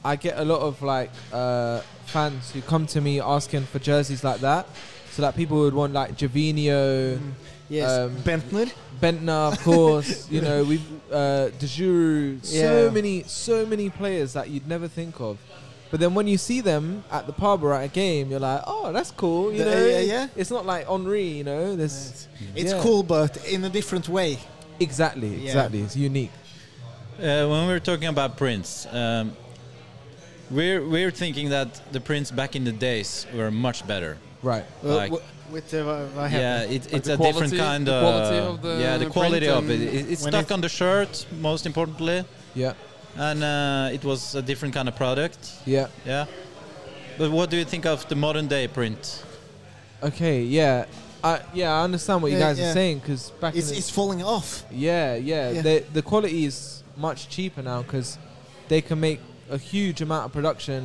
Speaker 2: I get a lot of like uh, fans who come to me asking for jerseys like that, so that people would want like Javinho,
Speaker 4: Yes,
Speaker 2: Um,
Speaker 4: Bentner.
Speaker 2: Bentner, of course. you know, we've uh, De Jure, so
Speaker 4: Yeah.
Speaker 2: many, so many players that you'd never think of. But then when you see them at the pub or at a game, you're like, oh, that's cool. You
Speaker 4: The-
Speaker 2: know,
Speaker 4: yeah, yeah.
Speaker 2: it's not like Henri. You know, this
Speaker 4: It's
Speaker 2: Yeah.
Speaker 4: cool, but in a different way.
Speaker 2: exactly,
Speaker 4: Yeah.
Speaker 2: exactly. It's unique.
Speaker 1: Uh, when we're talking about Prince, um, we're we're thinking that the Prince back in the days were much better.
Speaker 2: Right.
Speaker 4: Well,
Speaker 1: Like-
Speaker 4: w- with uh, what-
Speaker 1: Yeah,
Speaker 4: what happened.
Speaker 1: it, it's
Speaker 3: the
Speaker 1: a
Speaker 3: quality-
Speaker 1: different kind
Speaker 3: the
Speaker 1: of,
Speaker 3: quality of the
Speaker 1: yeah the
Speaker 3: print
Speaker 1: quality of it.
Speaker 3: and
Speaker 1: it it's
Speaker 4: when
Speaker 1: stuck
Speaker 4: it-
Speaker 1: on the shirt, most importantly,
Speaker 2: Yeah.
Speaker 1: and uh, it was a different kind of product.
Speaker 2: Yeah.
Speaker 1: Yeah. But what do you think of the modern day print?
Speaker 2: Okay. Yeah. I yeah, I understand what you
Speaker 4: Yeah,
Speaker 2: guys are
Speaker 4: yeah.
Speaker 2: saying because back
Speaker 4: It's,
Speaker 2: in the-
Speaker 4: it's falling off.
Speaker 2: Yeah, yeah.
Speaker 4: Yeah.
Speaker 2: The the quality is much cheaper now because they can make a huge amount of production,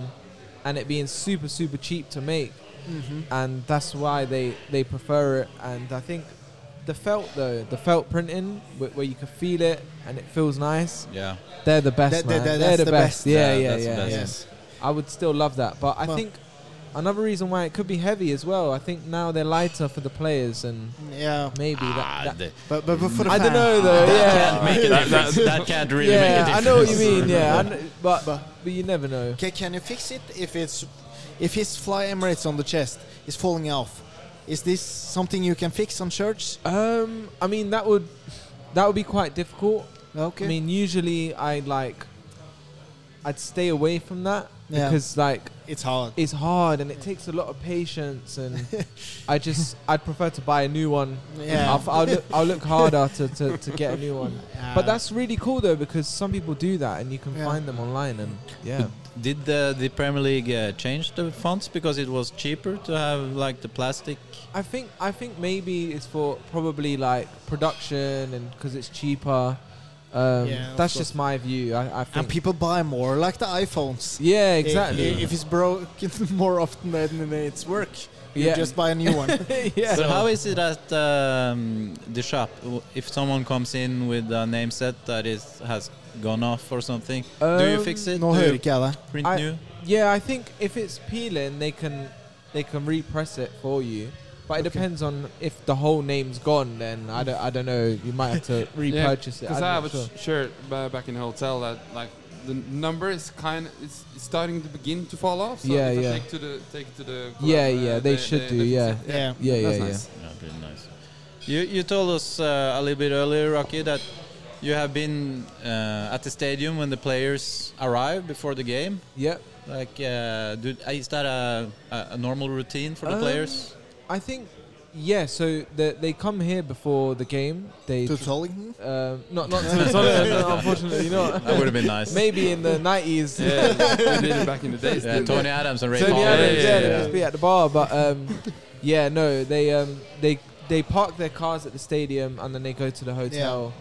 Speaker 2: and it being super super cheap to make,
Speaker 4: Mm-hmm.
Speaker 2: and that's why they they prefer it. And I think the felt though, the felt printing where, where you can feel it and it feels nice.
Speaker 1: Yeah.
Speaker 2: They're the best,
Speaker 4: That- that-
Speaker 2: man. they're
Speaker 4: that- that's
Speaker 2: the,
Speaker 4: the
Speaker 2: best.
Speaker 4: best.
Speaker 2: Yeah,
Speaker 1: Yeah,
Speaker 2: yeah,
Speaker 1: that's the
Speaker 2: yeah.
Speaker 1: best.
Speaker 2: yeah.
Speaker 4: Yes.
Speaker 2: I would still love that, but I
Speaker 4: Well-
Speaker 2: think another reason why it could be heavy as well. I think now they're lighter for the players, and
Speaker 4: Yeah.
Speaker 2: maybe
Speaker 1: Ah,
Speaker 2: that, that
Speaker 4: But, but, but for the
Speaker 2: I don't
Speaker 4: fan-
Speaker 2: know though. Oh, Yeah,
Speaker 1: Can't make a
Speaker 3: Ah, That-
Speaker 1: difference.
Speaker 3: that-
Speaker 1: That can't really
Speaker 2: yeah,
Speaker 1: make a difference.
Speaker 2: I know what you mean. Yeah, I kn- but, but
Speaker 4: But-
Speaker 2: you never know.
Speaker 4: Ca- can you fix it if it's if his fly emirates on the chest is falling off? Is this something you can fix on shirts?
Speaker 2: Um, I mean that would that would be quite difficult.
Speaker 4: Okay.
Speaker 2: I mean, usually I like I'd stay away from that
Speaker 4: Yeah.
Speaker 2: because like
Speaker 4: it's hard.
Speaker 2: it's hard and it takes a lot of patience and I just I'd prefer to buy a new one.
Speaker 4: Yeah.
Speaker 2: I'll, f- I'll look, I'll look harder to, to, to get a new one.
Speaker 1: Uh.
Speaker 2: But that's really cool though because some people do that and you can
Speaker 4: Yeah.
Speaker 2: find them online and yeah.
Speaker 1: Did the, the Premier League uh, change the fonts because it was cheaper to have like the plastic?
Speaker 2: I think I think maybe it's for probably like production and because it's cheaper. Um,
Speaker 4: Yeah, of
Speaker 2: that's
Speaker 4: course.
Speaker 2: just my view. I, I think.
Speaker 4: and people buy more, like the iPhones.
Speaker 2: yeah,
Speaker 4: I- i-
Speaker 2: exactly.
Speaker 4: If it's broken more often than it's work, you
Speaker 2: Yeah.
Speaker 4: just buy a new one.
Speaker 2: yeah.
Speaker 1: But how is it at um, the shop? W- If someone comes in with a name set that is has gone off or something, do you
Speaker 2: Um,
Speaker 1: fix it?
Speaker 4: Nå
Speaker 1: do
Speaker 4: hører
Speaker 1: you
Speaker 4: ikke jeg deg.
Speaker 1: print
Speaker 2: I-
Speaker 1: new?
Speaker 2: Yeah, I think if it's peeling, they can they can repress it for you. But it
Speaker 4: Okay.
Speaker 2: depends on if the whole name's gone. Then I don't I don't know. You might have to repurchase it.
Speaker 3: Because
Speaker 2: I'm
Speaker 3: I have
Speaker 2: not
Speaker 3: a
Speaker 2: sure.
Speaker 3: sh- shirt ba- back in the hotel that like the n- number is kind of it's it's starting to begin to fall off. So
Speaker 2: Yeah,
Speaker 3: if I
Speaker 2: yeah.
Speaker 3: Take to the take it to the.
Speaker 2: Yeah,
Speaker 3: club, uh,
Speaker 2: yeah, they should do,
Speaker 3: fix it.
Speaker 2: yeah.
Speaker 4: Yeah.
Speaker 2: Yeah, yeah,
Speaker 3: That's
Speaker 2: yeah.
Speaker 3: nice.
Speaker 1: Yeah, pretty nice. You you told us uh, a little bit earlier, Rocky, that you have been uh, at the stadium when the players arrive before the game.
Speaker 2: Yep.
Speaker 1: Like, uh, do, is that a, a, a normal routine for the
Speaker 2: Um,
Speaker 1: players?
Speaker 2: I think. Yeah. So the, they come here before the game. They
Speaker 4: To Tollington?
Speaker 2: Um, not not to Tottenham, unfortunately not.
Speaker 1: That would have been nice.
Speaker 2: Maybe in the nineties.
Speaker 3: yeah, they did it back in the days.
Speaker 1: Yeah,
Speaker 3: didn't
Speaker 1: Tony Adams and Ray
Speaker 2: Tony
Speaker 1: Palmer.
Speaker 2: Adams,
Speaker 3: Yeah,
Speaker 2: yeah,
Speaker 3: yeah,
Speaker 2: they
Speaker 3: yeah.
Speaker 2: just be at the bar, but um, yeah, no, they um, they they park their cars at the stadium and then they go to the hotel.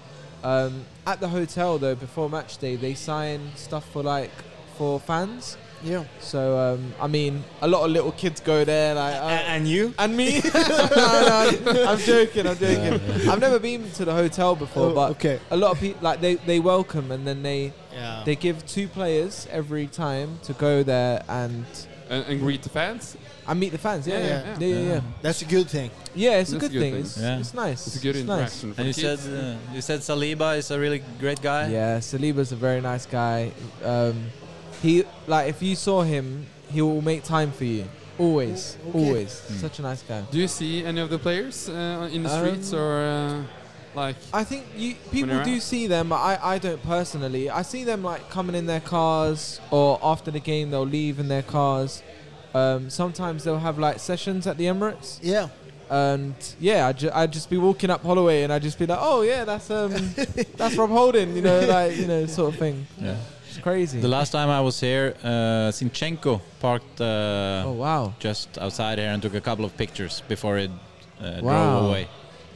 Speaker 2: Um, at the hotel though, before match day, they sign stuff for like for fans.
Speaker 4: Yeah.
Speaker 2: So um, I mean, a lot of little kids go there like.
Speaker 4: A-
Speaker 2: Uh,
Speaker 4: and you?
Speaker 2: and me? no, no, I'm joking. I'm joking. I've never been to the hotel before,
Speaker 4: Oh,
Speaker 2: but
Speaker 4: okay.
Speaker 2: a lot of people like they, they welcome and then they
Speaker 4: Yeah.
Speaker 2: they give two players every time to go there and
Speaker 3: And, and greet the fans.
Speaker 2: and meet the fans. Yeah, yeah,
Speaker 4: Yeah,
Speaker 2: yeah,
Speaker 3: yeah.
Speaker 2: yeah. yeah, yeah.
Speaker 4: That's a good thing.
Speaker 2: it's a
Speaker 3: That's
Speaker 2: good, thing. It's,
Speaker 1: Yeah.
Speaker 2: it's nice.
Speaker 3: It's a good
Speaker 2: nice.
Speaker 3: interaction. for
Speaker 1: And you
Speaker 3: the
Speaker 1: said
Speaker 3: kids.
Speaker 1: uh, you said Saliba is a really great guy.
Speaker 2: Yeah, Saliba's a very nice guy. Um, he like if you saw him, he will make time for you. Always,
Speaker 4: O- okay.
Speaker 2: always.
Speaker 1: Hmm.
Speaker 2: Such a nice guy.
Speaker 3: Do you see any of the players uh, in the streets
Speaker 2: Um,
Speaker 3: or uh, like?
Speaker 2: I think you
Speaker 3: When
Speaker 2: people
Speaker 3: you're
Speaker 2: do
Speaker 3: out.
Speaker 2: see them. but I I don't personally. I see them like coming in their cars or after the game they'll leave in their cars. Um, sometimes they'll have like sessions at the Emirates.
Speaker 4: Yeah.
Speaker 2: and yeah, I'd, ju- I'd just be walking up Holloway, and I'd just be like, "Oh yeah, that's um, that's Rob Holden," you know, like you know, sort of thing.
Speaker 1: Yeah.
Speaker 2: It's crazy.
Speaker 1: The last time I was here, uh, Sinchenko parked uh,
Speaker 2: oh wow,
Speaker 1: just outside here and took a couple of pictures before it uh,
Speaker 2: Wow.
Speaker 1: drove away.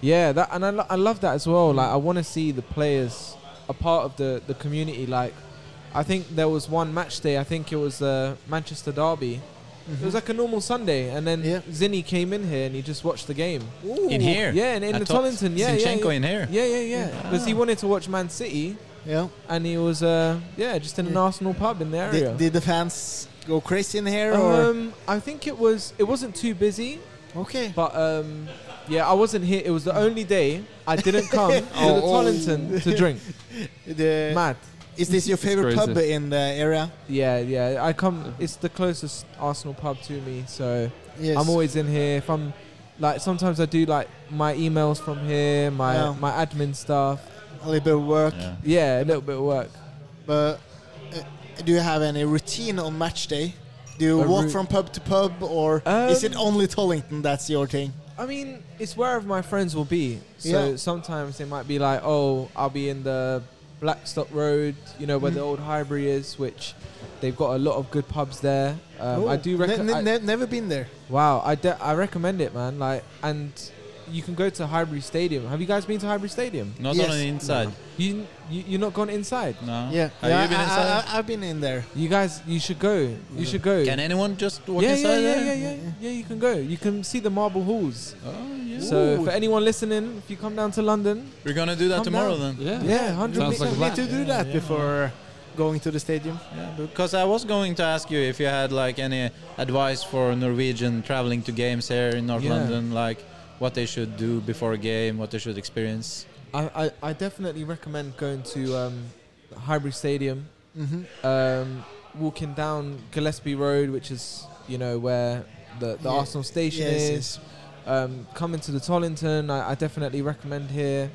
Speaker 2: yeah, that and I, lo- I love that as well. Like I want to see the players a part of the the community. Like I think there was one match day. I think it was uh, Manchester Derby. It was like a normal Sunday, and then
Speaker 4: Yeah.
Speaker 2: Zinny came in here and he just watched the game.
Speaker 1: In here?
Speaker 2: Yeah, and in
Speaker 1: I
Speaker 2: the
Speaker 1: thought
Speaker 2: Tollington, yeah, yeah,
Speaker 1: Zinchenko
Speaker 2: yeah.
Speaker 1: in here.
Speaker 2: Yeah, yeah, yeah. Because he wanted to watch Man City,
Speaker 4: Yeah.
Speaker 2: and he was uh, yeah just in an
Speaker 4: Yeah.
Speaker 2: Arsenal pub in the area.
Speaker 4: Did, did the fans go crazy in here or?
Speaker 2: um, I think it was it wasn't too busy,
Speaker 4: Okay.
Speaker 2: but um, yeah, I wasn't here. It was the only day I didn't come to the
Speaker 3: Oh, oh.
Speaker 2: Tollington to drink.
Speaker 4: The-
Speaker 2: Mad.
Speaker 4: is this your favorite
Speaker 3: crazy.
Speaker 4: pub in the area?
Speaker 2: Yeah, yeah. I come. It's the closest Arsenal pub to me, so
Speaker 4: Yes.
Speaker 2: I'm always in here. If I'm like, sometimes I do like my emails from here, my
Speaker 4: Yeah.
Speaker 2: my admin stuff.
Speaker 4: a little bit of work.
Speaker 1: Yeah.
Speaker 2: Yeah, a little bit of work.
Speaker 4: But uh, do you have any routine on match day? Do you
Speaker 2: A
Speaker 4: walk
Speaker 2: rou-
Speaker 4: from pub to pub, or is it
Speaker 2: Um,
Speaker 4: only Tollington that's your thing?
Speaker 2: I mean, it's wherever my friends will be. So
Speaker 4: Yeah.
Speaker 2: sometimes they might be like, oh, I'll be in the Blackstock Road, you know, where
Speaker 4: Mm.
Speaker 2: the old Highbury is, which they've got a lot of good pubs there. Um, I do recommend.
Speaker 4: Ne- ne- never been there.
Speaker 2: wow, I, de- I recommend it, man. Like, and you can go to Highbury Stadium. Have you guys been to Highbury Stadium?
Speaker 1: Not
Speaker 4: Yes.
Speaker 1: on the inside.
Speaker 2: You, you you're not gone inside.
Speaker 1: No.
Speaker 4: Yeah.
Speaker 1: Have
Speaker 4: yeah
Speaker 1: you been
Speaker 4: I-
Speaker 1: inside?
Speaker 4: I, I, have been in there.
Speaker 2: You guys, you should go. You should go.
Speaker 1: Can anyone just walk
Speaker 2: yeah, yeah,
Speaker 1: inside
Speaker 2: yeah,
Speaker 1: there?
Speaker 2: yeah, yeah, yeah. You can go. You can see the marble halls.
Speaker 1: Oh, yeah.
Speaker 2: So,
Speaker 4: Ooh.
Speaker 2: for anyone listening, if you come down to London,
Speaker 1: We're gonna do that
Speaker 2: Calm
Speaker 1: tomorrow
Speaker 2: down.
Speaker 1: then.
Speaker 3: Yeah.
Speaker 2: yeah, hundred
Speaker 3: Sounds like
Speaker 4: We
Speaker 3: a
Speaker 4: need
Speaker 3: plan.
Speaker 4: to do
Speaker 1: Yeah,
Speaker 4: that
Speaker 1: yeah.
Speaker 4: before going to the stadium.
Speaker 1: Yeah, because I was going to ask you if you had like any advice for Norwegian traveling to games here in North
Speaker 2: Yeah.
Speaker 1: London, like what they should do before a game, what they should experience.
Speaker 2: I, I, I definitely recommend going to um, Highbury Stadium,
Speaker 4: hmm
Speaker 2: um, walking down Gillespie Road, which is you know where the, the
Speaker 4: Yeah.
Speaker 2: Arsenal station
Speaker 4: Yes,
Speaker 2: is. Um, coming to the Tollington, I, I definitely recommend here,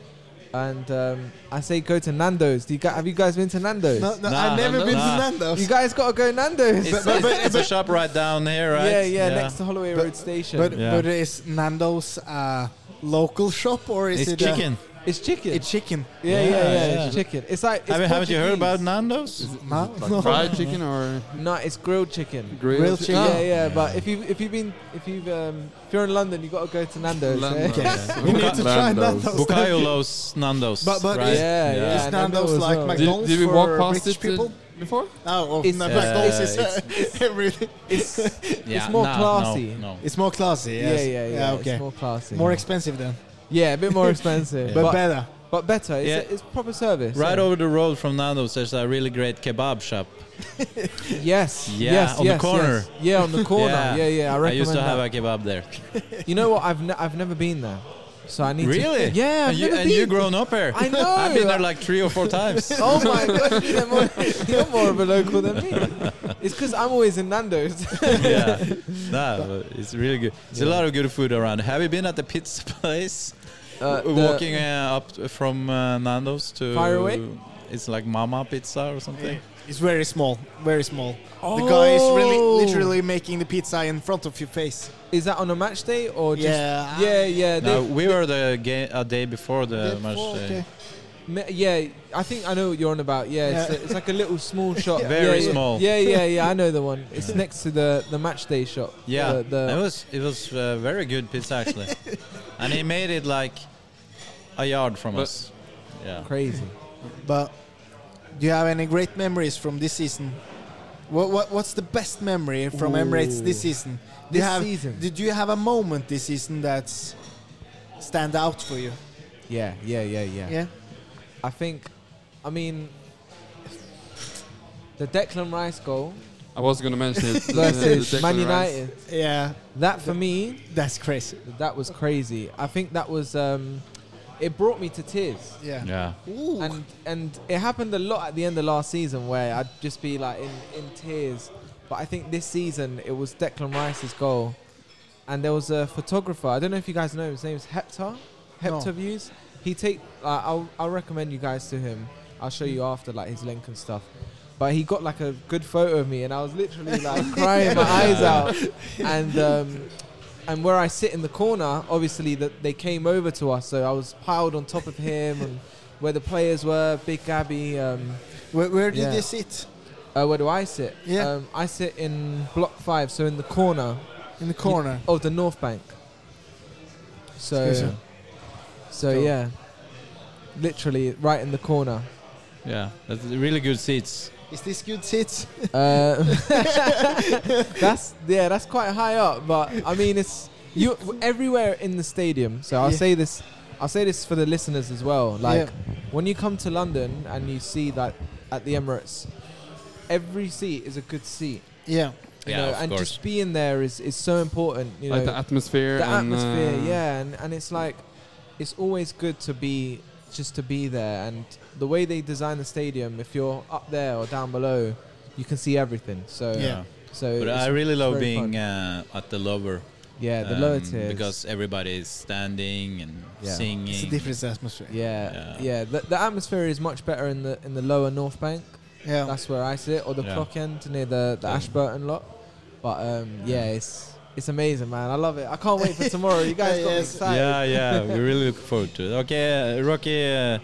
Speaker 2: and um, I say go to Nando's. Do you guys, have you guys been to Nando's?
Speaker 4: No, no,
Speaker 1: Nah,
Speaker 4: I've never
Speaker 1: Nando's.
Speaker 4: been
Speaker 1: Nah.
Speaker 4: to Nando's.
Speaker 2: You guys gotta go Nando's.
Speaker 1: It's, it's- it's a shop right down here, right?
Speaker 2: Yeah, yeah, next to Holloway
Speaker 4: But-
Speaker 2: Road Station.
Speaker 4: but,
Speaker 1: Yeah.
Speaker 4: but is Nando's a local shop or is
Speaker 1: It's
Speaker 4: it a-
Speaker 1: chicken.
Speaker 2: it's chicken.
Speaker 4: it's chicken.
Speaker 2: yeah,
Speaker 1: Yeah,
Speaker 2: yeah, yeah,
Speaker 1: yeah.
Speaker 2: It's chicken. It's like it's
Speaker 1: Haven't, haven't you heard about
Speaker 2: Portuguese.
Speaker 1: Nando's?
Speaker 3: Is it, is
Speaker 4: No.
Speaker 3: it like fried chicken or
Speaker 2: No, it's grilled chicken.
Speaker 3: grilled,
Speaker 4: Grilled
Speaker 3: chicken?
Speaker 4: chicken.
Speaker 2: Yeah, yeah, but if you if you've been if you've um, if you're in London, you got to go to Nando's.
Speaker 3: Nando's.
Speaker 2: eh?
Speaker 1: Yeah.
Speaker 4: We need to try
Speaker 3: Nando's.
Speaker 4: Nando's.
Speaker 1: Bukayolos Nando's.
Speaker 4: But- but
Speaker 1: right?
Speaker 4: is-
Speaker 2: Yeah, yeah.
Speaker 4: Is
Speaker 2: and
Speaker 4: Nando's
Speaker 2: Nando's
Speaker 4: like
Speaker 2: well.
Speaker 3: Did,
Speaker 4: McDonald's
Speaker 3: did we
Speaker 4: for
Speaker 3: walk past
Speaker 4: British
Speaker 3: it uh,
Speaker 4: people?
Speaker 3: before?
Speaker 4: No, oh,
Speaker 2: It's-
Speaker 4: no,
Speaker 1: uh,
Speaker 4: McDonald's is
Speaker 1: it's-
Speaker 4: uh, everything.
Speaker 2: It's
Speaker 1: Yeah,
Speaker 2: more
Speaker 1: no,
Speaker 2: classy.
Speaker 1: No, no.
Speaker 4: It's more classy.
Speaker 2: yeah,
Speaker 4: Yes.
Speaker 2: yeah, yeah.
Speaker 4: okay.
Speaker 2: It's
Speaker 4: more,
Speaker 2: more classy.
Speaker 4: expensive then,
Speaker 2: yeah, a bit more expensive,
Speaker 4: but,
Speaker 2: but, but
Speaker 4: better.
Speaker 2: better. It's,
Speaker 1: Yeah.
Speaker 2: it's proper service. eh?
Speaker 1: Right
Speaker 2: yeah.
Speaker 1: over the road from Nando's, there's a really great kebab shop.
Speaker 2: Yes.
Speaker 1: Yeah,
Speaker 2: yes,
Speaker 1: on the
Speaker 2: yes,
Speaker 1: corner.
Speaker 2: yes. Yeah, on the corner.
Speaker 1: Yeah.
Speaker 2: yeah. yeah, I
Speaker 1: I
Speaker 2: recommend
Speaker 1: used to
Speaker 2: that.
Speaker 1: have a kebab there.
Speaker 2: You know what? I've ne- I've never been there, so I need
Speaker 1: Really?
Speaker 2: to. Yeah, I've
Speaker 1: and you,
Speaker 2: never
Speaker 1: and
Speaker 2: been.
Speaker 1: you grown up here.
Speaker 2: I know.
Speaker 1: I've been there like three or four times.
Speaker 2: Oh my god, you're more, you're more of a local than me. It's because I'm always in Nando's.
Speaker 1: yeah, no, but it's really good. There's a
Speaker 2: Yeah.
Speaker 1: lot of good food around. Have you been at the pizza place?
Speaker 2: Uh,
Speaker 1: W-
Speaker 2: the-
Speaker 1: Walking uh, up t- from uh, Nando's to
Speaker 2: Far away?
Speaker 1: It's like Mama Pizza or something.
Speaker 4: It's very small, very small. The guy is really
Speaker 2: Oh.
Speaker 4: literally making the pizza in front of your face.
Speaker 2: Is that on a match day or just?
Speaker 4: Yeah.
Speaker 2: yeah, yeah,
Speaker 1: No,
Speaker 2: they,
Speaker 1: we were the ga- a day before the match
Speaker 4: uh,
Speaker 1: day.
Speaker 2: me- yeah. I think I know what you're on about. Yeah,
Speaker 4: Yeah.
Speaker 2: It's, a, it's like a little small shop.
Speaker 1: Very
Speaker 2: yeah, yeah.
Speaker 1: small.
Speaker 2: Yeah, yeah, yeah. I know the one. It's next to the the match day shop.
Speaker 1: Yeah,
Speaker 2: The, the-
Speaker 1: it was it was uh, very good pizza actually, and he made it like a yard from
Speaker 3: But-
Speaker 1: us. Yeah.
Speaker 2: crazy.
Speaker 4: But do you have any great memories from this season? What, what what's the best memory from Emirates this
Speaker 2: Ooh.
Speaker 4: season? Do
Speaker 2: This
Speaker 4: you have,
Speaker 2: season?
Speaker 4: Did you have a moment this season that's stand out for you?
Speaker 2: Yeah, yeah, yeah, yeah.
Speaker 4: Yeah.
Speaker 2: I think, I mean, the Declan Rice goal
Speaker 3: I was gonna mention it. the- the
Speaker 2: versus
Speaker 3: Declan
Speaker 2: Man
Speaker 3: Rice.
Speaker 2: United.
Speaker 4: Yeah.
Speaker 2: That for me,
Speaker 4: That's crazy.
Speaker 2: That was crazy. I think that was um, it brought me to tears.
Speaker 4: Yeah.
Speaker 1: Yeah.
Speaker 4: Ooh.
Speaker 2: And and it happened a lot at the end of last season where I'd just be like in, in tears. But I think this season it was Declan Rice's goal. And there was a photographer, I don't know if you guys know him, his name is Hepta. Hepta
Speaker 4: No.
Speaker 2: Views. He take like, I'll I'll recommend you guys to him. I'll show you after like his link and stuff. But he got like a good photo of me and I was literally like crying my eyes out. And um and where I sit in the corner, obviously that they came over to us, so I was piled on top of him and where the players were, Big Gabby. Um,
Speaker 4: where, where did
Speaker 2: Yeah.
Speaker 4: this sit?
Speaker 2: uh, where do I sit?
Speaker 4: Yeah.
Speaker 2: Um, I sit in block five, so in the corner
Speaker 4: In the corner.
Speaker 2: of the North Bank. So,
Speaker 4: Excuse me.
Speaker 2: so
Speaker 4: Cool.
Speaker 2: yeah, literally right in the corner.
Speaker 1: Yeah, that's really good seats.
Speaker 4: Is this good seats?
Speaker 2: Uh, that's yeah, that's quite high up, but I mean it's you everywhere in the stadium. So I'll
Speaker 4: Yeah.
Speaker 2: say this I'll say this for the listeners as well. Like
Speaker 4: Yeah.
Speaker 2: when you come to London and you see that at the Emirates, every seat is a good seat.
Speaker 4: Yeah.
Speaker 2: You
Speaker 1: Yeah,
Speaker 2: know,
Speaker 1: of
Speaker 2: and
Speaker 1: course.
Speaker 2: just being there is, is so important. You
Speaker 3: like
Speaker 2: know,
Speaker 3: the atmosphere.
Speaker 2: the
Speaker 3: and,
Speaker 2: atmosphere
Speaker 3: uh,
Speaker 2: yeah and, and it's like it's always good to be just to be there and the way they design the stadium if you're up there or down below you can see everything so
Speaker 4: Yeah.
Speaker 2: so
Speaker 1: But
Speaker 2: it's-
Speaker 1: I really
Speaker 2: it's
Speaker 1: love
Speaker 2: very
Speaker 1: being
Speaker 2: fun.
Speaker 1: uh, at the lower.
Speaker 2: yeah the
Speaker 1: um,
Speaker 2: lower tiers
Speaker 1: Because everybody is standing and
Speaker 2: Yeah.
Speaker 1: singing.
Speaker 4: It's a different atmosphere.
Speaker 2: yeah yeah,
Speaker 1: Yeah.
Speaker 2: The, the atmosphere is much better in the in the lower north bank
Speaker 4: Yeah.
Speaker 2: that's where i sit or the
Speaker 1: Yeah.
Speaker 2: clock end near the, the
Speaker 1: Yeah.
Speaker 2: ashburton lot but um yeah it's it's amazing man i love it i can't wait for tomorrow you guys got me
Speaker 4: Yes.
Speaker 2: excited
Speaker 1: Yeah, yeah, we really look forward to it. Okay, uh, Rocky, uh,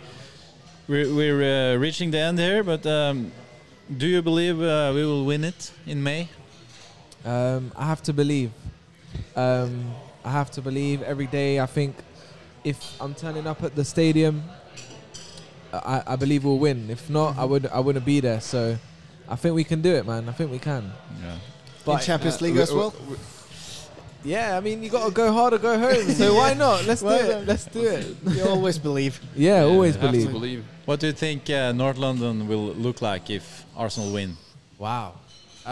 Speaker 1: we're, we're uh, reaching the end here, but um, do you believe uh, we will win it in May?
Speaker 2: Um, I have to believe. Um, I have to believe every day. I think if I'm turning up at the stadium, I, I believe we'll win. If not, I would I wouldn't be there. So I think we can do it, man. I think we can.
Speaker 1: Yeah.
Speaker 4: In
Speaker 2: But
Speaker 4: Champions League
Speaker 3: we-
Speaker 4: as well.
Speaker 3: we-
Speaker 2: yeah, I mean, you gotta go hard or go home. So why not? Let's do
Speaker 4: Why
Speaker 2: it.
Speaker 4: not?
Speaker 2: Let's do it.
Speaker 4: You always believe.
Speaker 2: Yeah, always
Speaker 3: we have to
Speaker 2: believe.
Speaker 3: believe.
Speaker 1: What do you think uh, North London will look like if Arsenal win?
Speaker 2: Wow.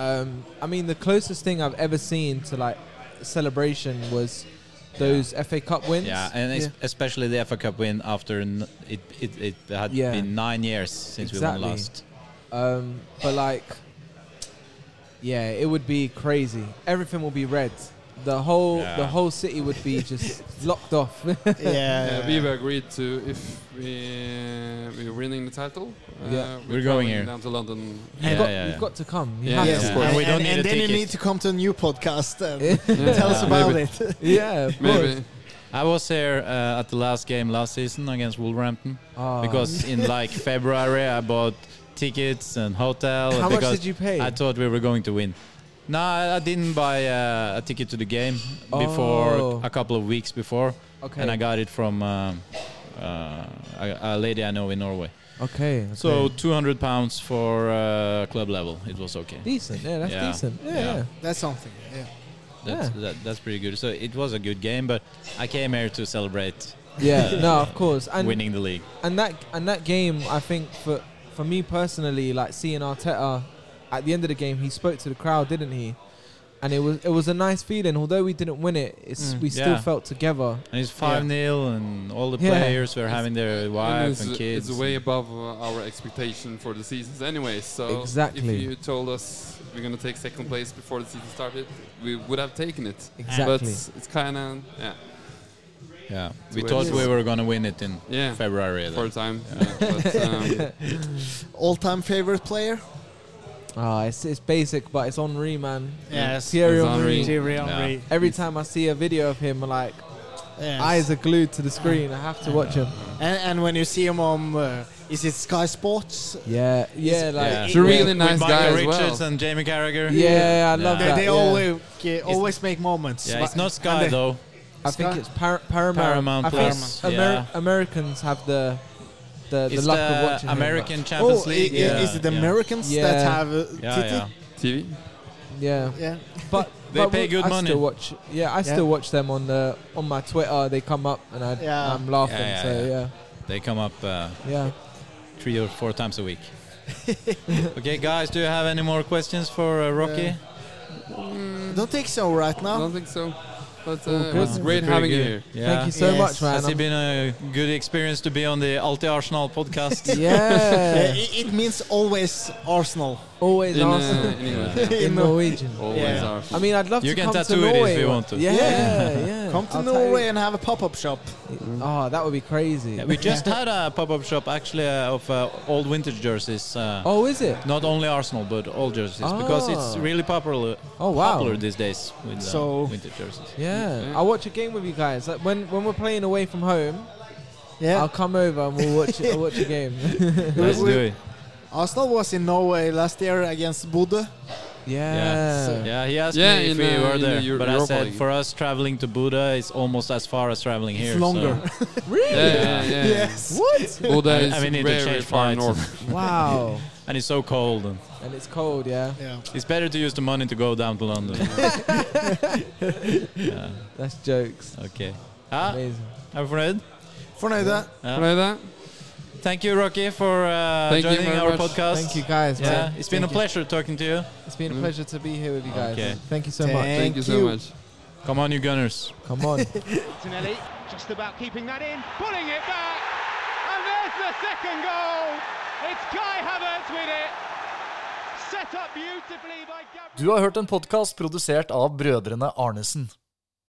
Speaker 2: Um, I mean, the closest thing I've ever seen to like celebration was those FA Cup wins.
Speaker 1: Yeah, and es-
Speaker 4: Yeah.
Speaker 1: especially the FA Cup win after n- it, it, it had
Speaker 2: Yeah.
Speaker 1: been nine years since we
Speaker 2: Exactly.
Speaker 1: won last.
Speaker 2: Um, but like, yeah, it would be crazy. Everything will be red. The whole
Speaker 1: Yeah.
Speaker 2: the whole city would be just locked off.
Speaker 4: yeah.
Speaker 3: Yeah, we were agreed to if we we're winning the title. Uh,
Speaker 2: Yeah.
Speaker 1: We're going
Speaker 3: traveling
Speaker 1: here.
Speaker 3: down to London.
Speaker 2: you've, got,
Speaker 1: yeah,
Speaker 2: you've
Speaker 1: yeah.
Speaker 2: got to come. You
Speaker 3: Yeah,
Speaker 2: have
Speaker 3: yeah,
Speaker 4: Yes.
Speaker 2: to.
Speaker 4: And,
Speaker 3: of course.
Speaker 4: and,
Speaker 1: We don't need
Speaker 4: and
Speaker 1: a
Speaker 4: then you
Speaker 1: ticket.
Speaker 4: need to come to a new podcast and
Speaker 3: Yeah.
Speaker 4: tell us about
Speaker 3: Maybe.
Speaker 4: it.
Speaker 2: yeah, of course.
Speaker 3: Maybe.
Speaker 1: I was here uh, at the last game last season against Wolverhampton
Speaker 2: Ah.
Speaker 1: because in like February I bought tickets and hotel.
Speaker 2: how much
Speaker 1: because
Speaker 2: did you pay?
Speaker 1: I thought we were going to win. No, I I didn't buy uh, a ticket to the game
Speaker 2: Oh.
Speaker 1: before a couple of weeks before,
Speaker 2: okay.
Speaker 1: and I got it from um, uh, a, a lady I know in Norway.
Speaker 2: okay, okay.
Speaker 1: So 200 pounds for uh, club level, it was okay.
Speaker 2: decent. Yeah, that's
Speaker 1: Yeah.
Speaker 2: decent. Yeah,
Speaker 1: Yeah.
Speaker 2: yeah.
Speaker 4: That's something. Yeah.
Speaker 1: That's, that, that's pretty good. So it was a good game, but I came here to celebrate
Speaker 2: yeah. no, of course. And
Speaker 1: winning the league.
Speaker 2: and that and that game, I think for for me personally, like seeing Arteta at the end of the game, he spoke to the crowd, didn't he? And it was it was a nice feeling. Although we didn't win it, it's
Speaker 4: Mm.
Speaker 2: we still
Speaker 1: Yeah.
Speaker 2: felt together.
Speaker 1: And it's 5 0, and all the
Speaker 2: Yeah.
Speaker 1: players were having their
Speaker 3: And
Speaker 1: wife
Speaker 3: it's,
Speaker 1: and, kids.
Speaker 3: it's way above uh, our expectation for the seasons, anyway. So
Speaker 2: Exactly.
Speaker 3: if you told us we're gonna take second place before the season started, we would have taken it. But
Speaker 2: Exactly.
Speaker 3: it's, it's kind of yeah,
Speaker 1: yeah. We
Speaker 3: way
Speaker 1: thought
Speaker 3: above.
Speaker 1: we were going to win it in
Speaker 3: yeah,
Speaker 1: February. Then.
Speaker 3: for a time. Yeah. but, um,
Speaker 4: All-time favorite player?
Speaker 2: Ah, it's it's basic, but it's Henri, man.
Speaker 4: Yes.
Speaker 2: Thierry
Speaker 3: It's
Speaker 2: Henry.
Speaker 3: Henry.
Speaker 4: Thierry Henry.
Speaker 2: Every time I see a video of him, like
Speaker 4: Yes.
Speaker 2: eyes are glued to the screen. I have to watch him.
Speaker 4: And, and when you see him on, uh, is it Sky Sports?
Speaker 2: Yeah, yeah, like yeah,
Speaker 3: It's a really
Speaker 1: With
Speaker 3: nice
Speaker 1: Michael
Speaker 3: guy as well.
Speaker 1: Richards and Jamie Carragher.
Speaker 2: I love
Speaker 1: Yeah.
Speaker 4: They,
Speaker 2: that.
Speaker 4: they
Speaker 2: yeah.
Speaker 4: always okay, always make moments.
Speaker 1: Yeah,
Speaker 4: but-
Speaker 1: it's not
Speaker 4: and
Speaker 1: Sky
Speaker 4: they-
Speaker 1: though.
Speaker 2: I think
Speaker 4: Sky-
Speaker 2: it's par- Paramount.
Speaker 1: Paramount
Speaker 2: I think
Speaker 1: Plus,
Speaker 2: Ameri-
Speaker 1: yeah.
Speaker 2: Americans have the the, the
Speaker 1: it's
Speaker 2: luck
Speaker 1: the
Speaker 2: of watching him, but-
Speaker 1: American
Speaker 4: Oh,
Speaker 1: Champions
Speaker 4: i- i-
Speaker 1: League. yeah,
Speaker 4: is it
Speaker 1: yeah.
Speaker 4: Americans that
Speaker 2: Yeah.
Speaker 4: have uh,
Speaker 1: Yeah,
Speaker 4: Titi?
Speaker 1: yeah.
Speaker 3: TV.
Speaker 2: Yeah,
Speaker 4: Yeah.
Speaker 2: but
Speaker 1: They
Speaker 2: but
Speaker 1: pay
Speaker 2: we-
Speaker 1: good
Speaker 2: I
Speaker 1: money.
Speaker 2: Still watch, yeah, I still watch them on the on my Twitter. They come up and I,
Speaker 4: Yeah.
Speaker 2: I'm laughing.
Speaker 1: Yeah, yeah,
Speaker 2: so yeah,
Speaker 1: They come up uh,
Speaker 2: yeah.
Speaker 1: three or four times a week. okay, guys, do you have any more questions for uh, Rocky?
Speaker 4: Uh, I Mm. don't think so right
Speaker 3: I
Speaker 4: now.
Speaker 3: don't think so. But uh,
Speaker 2: good.
Speaker 3: it was
Speaker 1: Uh,
Speaker 3: great
Speaker 1: pretty
Speaker 3: having you
Speaker 1: good.
Speaker 3: here.
Speaker 1: Yeah.
Speaker 2: Thank you so
Speaker 4: Yes.
Speaker 2: much, man.
Speaker 1: Has it
Speaker 2: I'm-
Speaker 1: been a good experience to be on the Alti Arsenal podcast?
Speaker 4: Uh,
Speaker 2: yeah,
Speaker 4: i- it means always Arsenal.
Speaker 2: always
Speaker 3: In,
Speaker 2: Arsenal
Speaker 3: uh, in England, yeah.
Speaker 2: in
Speaker 4: in-
Speaker 2: Norwegian.
Speaker 3: always
Speaker 4: Yeah.
Speaker 3: are.
Speaker 2: I mean, I'd love
Speaker 1: You
Speaker 2: to
Speaker 1: can
Speaker 2: come to
Speaker 1: tattoo it if
Speaker 2: Norway.
Speaker 1: you want to.
Speaker 2: Yeah, yeah.
Speaker 4: Come to
Speaker 2: I'll tell
Speaker 4: Norway
Speaker 2: you-
Speaker 4: and have a pop-up shop.
Speaker 2: Oh, that would be crazy.
Speaker 1: Yeah, we just had a pop-up shop actually uh, of uh, old vintage jerseys. Uh,
Speaker 2: Oh, is it?
Speaker 1: Not only Arsenal, but all jerseys, because it's
Speaker 2: Ah.
Speaker 1: really popular,
Speaker 2: Oh, wow.
Speaker 1: popular these days with uh,
Speaker 4: So-
Speaker 1: vintage jerseys.
Speaker 2: Yeah.
Speaker 3: Yeah.
Speaker 2: I'll watch a game with you guys. Like when when we're playing away from home,
Speaker 4: Yeah.
Speaker 2: I'll come over and we'll watch I'll watch a game.
Speaker 1: Let's do
Speaker 4: we-
Speaker 1: it.
Speaker 4: Arsenal was in Norway last year against Bodø.
Speaker 2: yeah.
Speaker 4: So-
Speaker 1: Yeah, he asked
Speaker 3: Yeah,
Speaker 1: me if
Speaker 3: in,
Speaker 1: we
Speaker 3: uh,
Speaker 1: were
Speaker 3: in the
Speaker 1: there,
Speaker 3: Eu-
Speaker 1: but I
Speaker 3: Europa
Speaker 1: said
Speaker 3: League.
Speaker 1: for us traveling to Buda is almost as far as traveling here.
Speaker 4: It's longer.
Speaker 1: so-
Speaker 2: Really?
Speaker 3: Yeah, yeah, yeah.
Speaker 4: yes.
Speaker 2: What?
Speaker 3: Buda
Speaker 1: I-
Speaker 3: is
Speaker 1: I mean, it
Speaker 3: very,
Speaker 1: changed
Speaker 3: very far
Speaker 1: flights.
Speaker 3: north.
Speaker 2: Wow.
Speaker 1: and it's so cold. And
Speaker 2: and it's cold, yeah.
Speaker 4: Yeah.
Speaker 1: it's better to use the money to go down to London.
Speaker 2: That's jokes.
Speaker 1: okay. Ah,
Speaker 2: Amazing.
Speaker 1: er du fornøyd?
Speaker 4: Fornøyde.
Speaker 1: Yeah.
Speaker 3: Fornøyde?
Speaker 1: Thank you, Rocky, for uh,
Speaker 3: Thank you
Speaker 1: joining
Speaker 3: very
Speaker 1: our
Speaker 3: much.
Speaker 1: podcast.
Speaker 2: Thank you guys.
Speaker 1: Yeah,
Speaker 2: man.
Speaker 1: it's been a
Speaker 2: Thank you.
Speaker 1: pleasure talking to you.
Speaker 2: It's been a
Speaker 3: Mm.
Speaker 2: pleasure to be here with you guys.
Speaker 1: Okay.
Speaker 2: Thank you so
Speaker 4: Thank-
Speaker 2: much.
Speaker 3: Thank you so
Speaker 4: you.
Speaker 3: much.
Speaker 1: Come on, you Gunners.
Speaker 2: Come on.
Speaker 5: Martinelli just about keeping that in, pulling it back, and there's the second goal. It's Kai Havertz with it. Set up beautifully by Gabriel.
Speaker 6: Du har hørt en podkast produsert av brødrene Arnesen.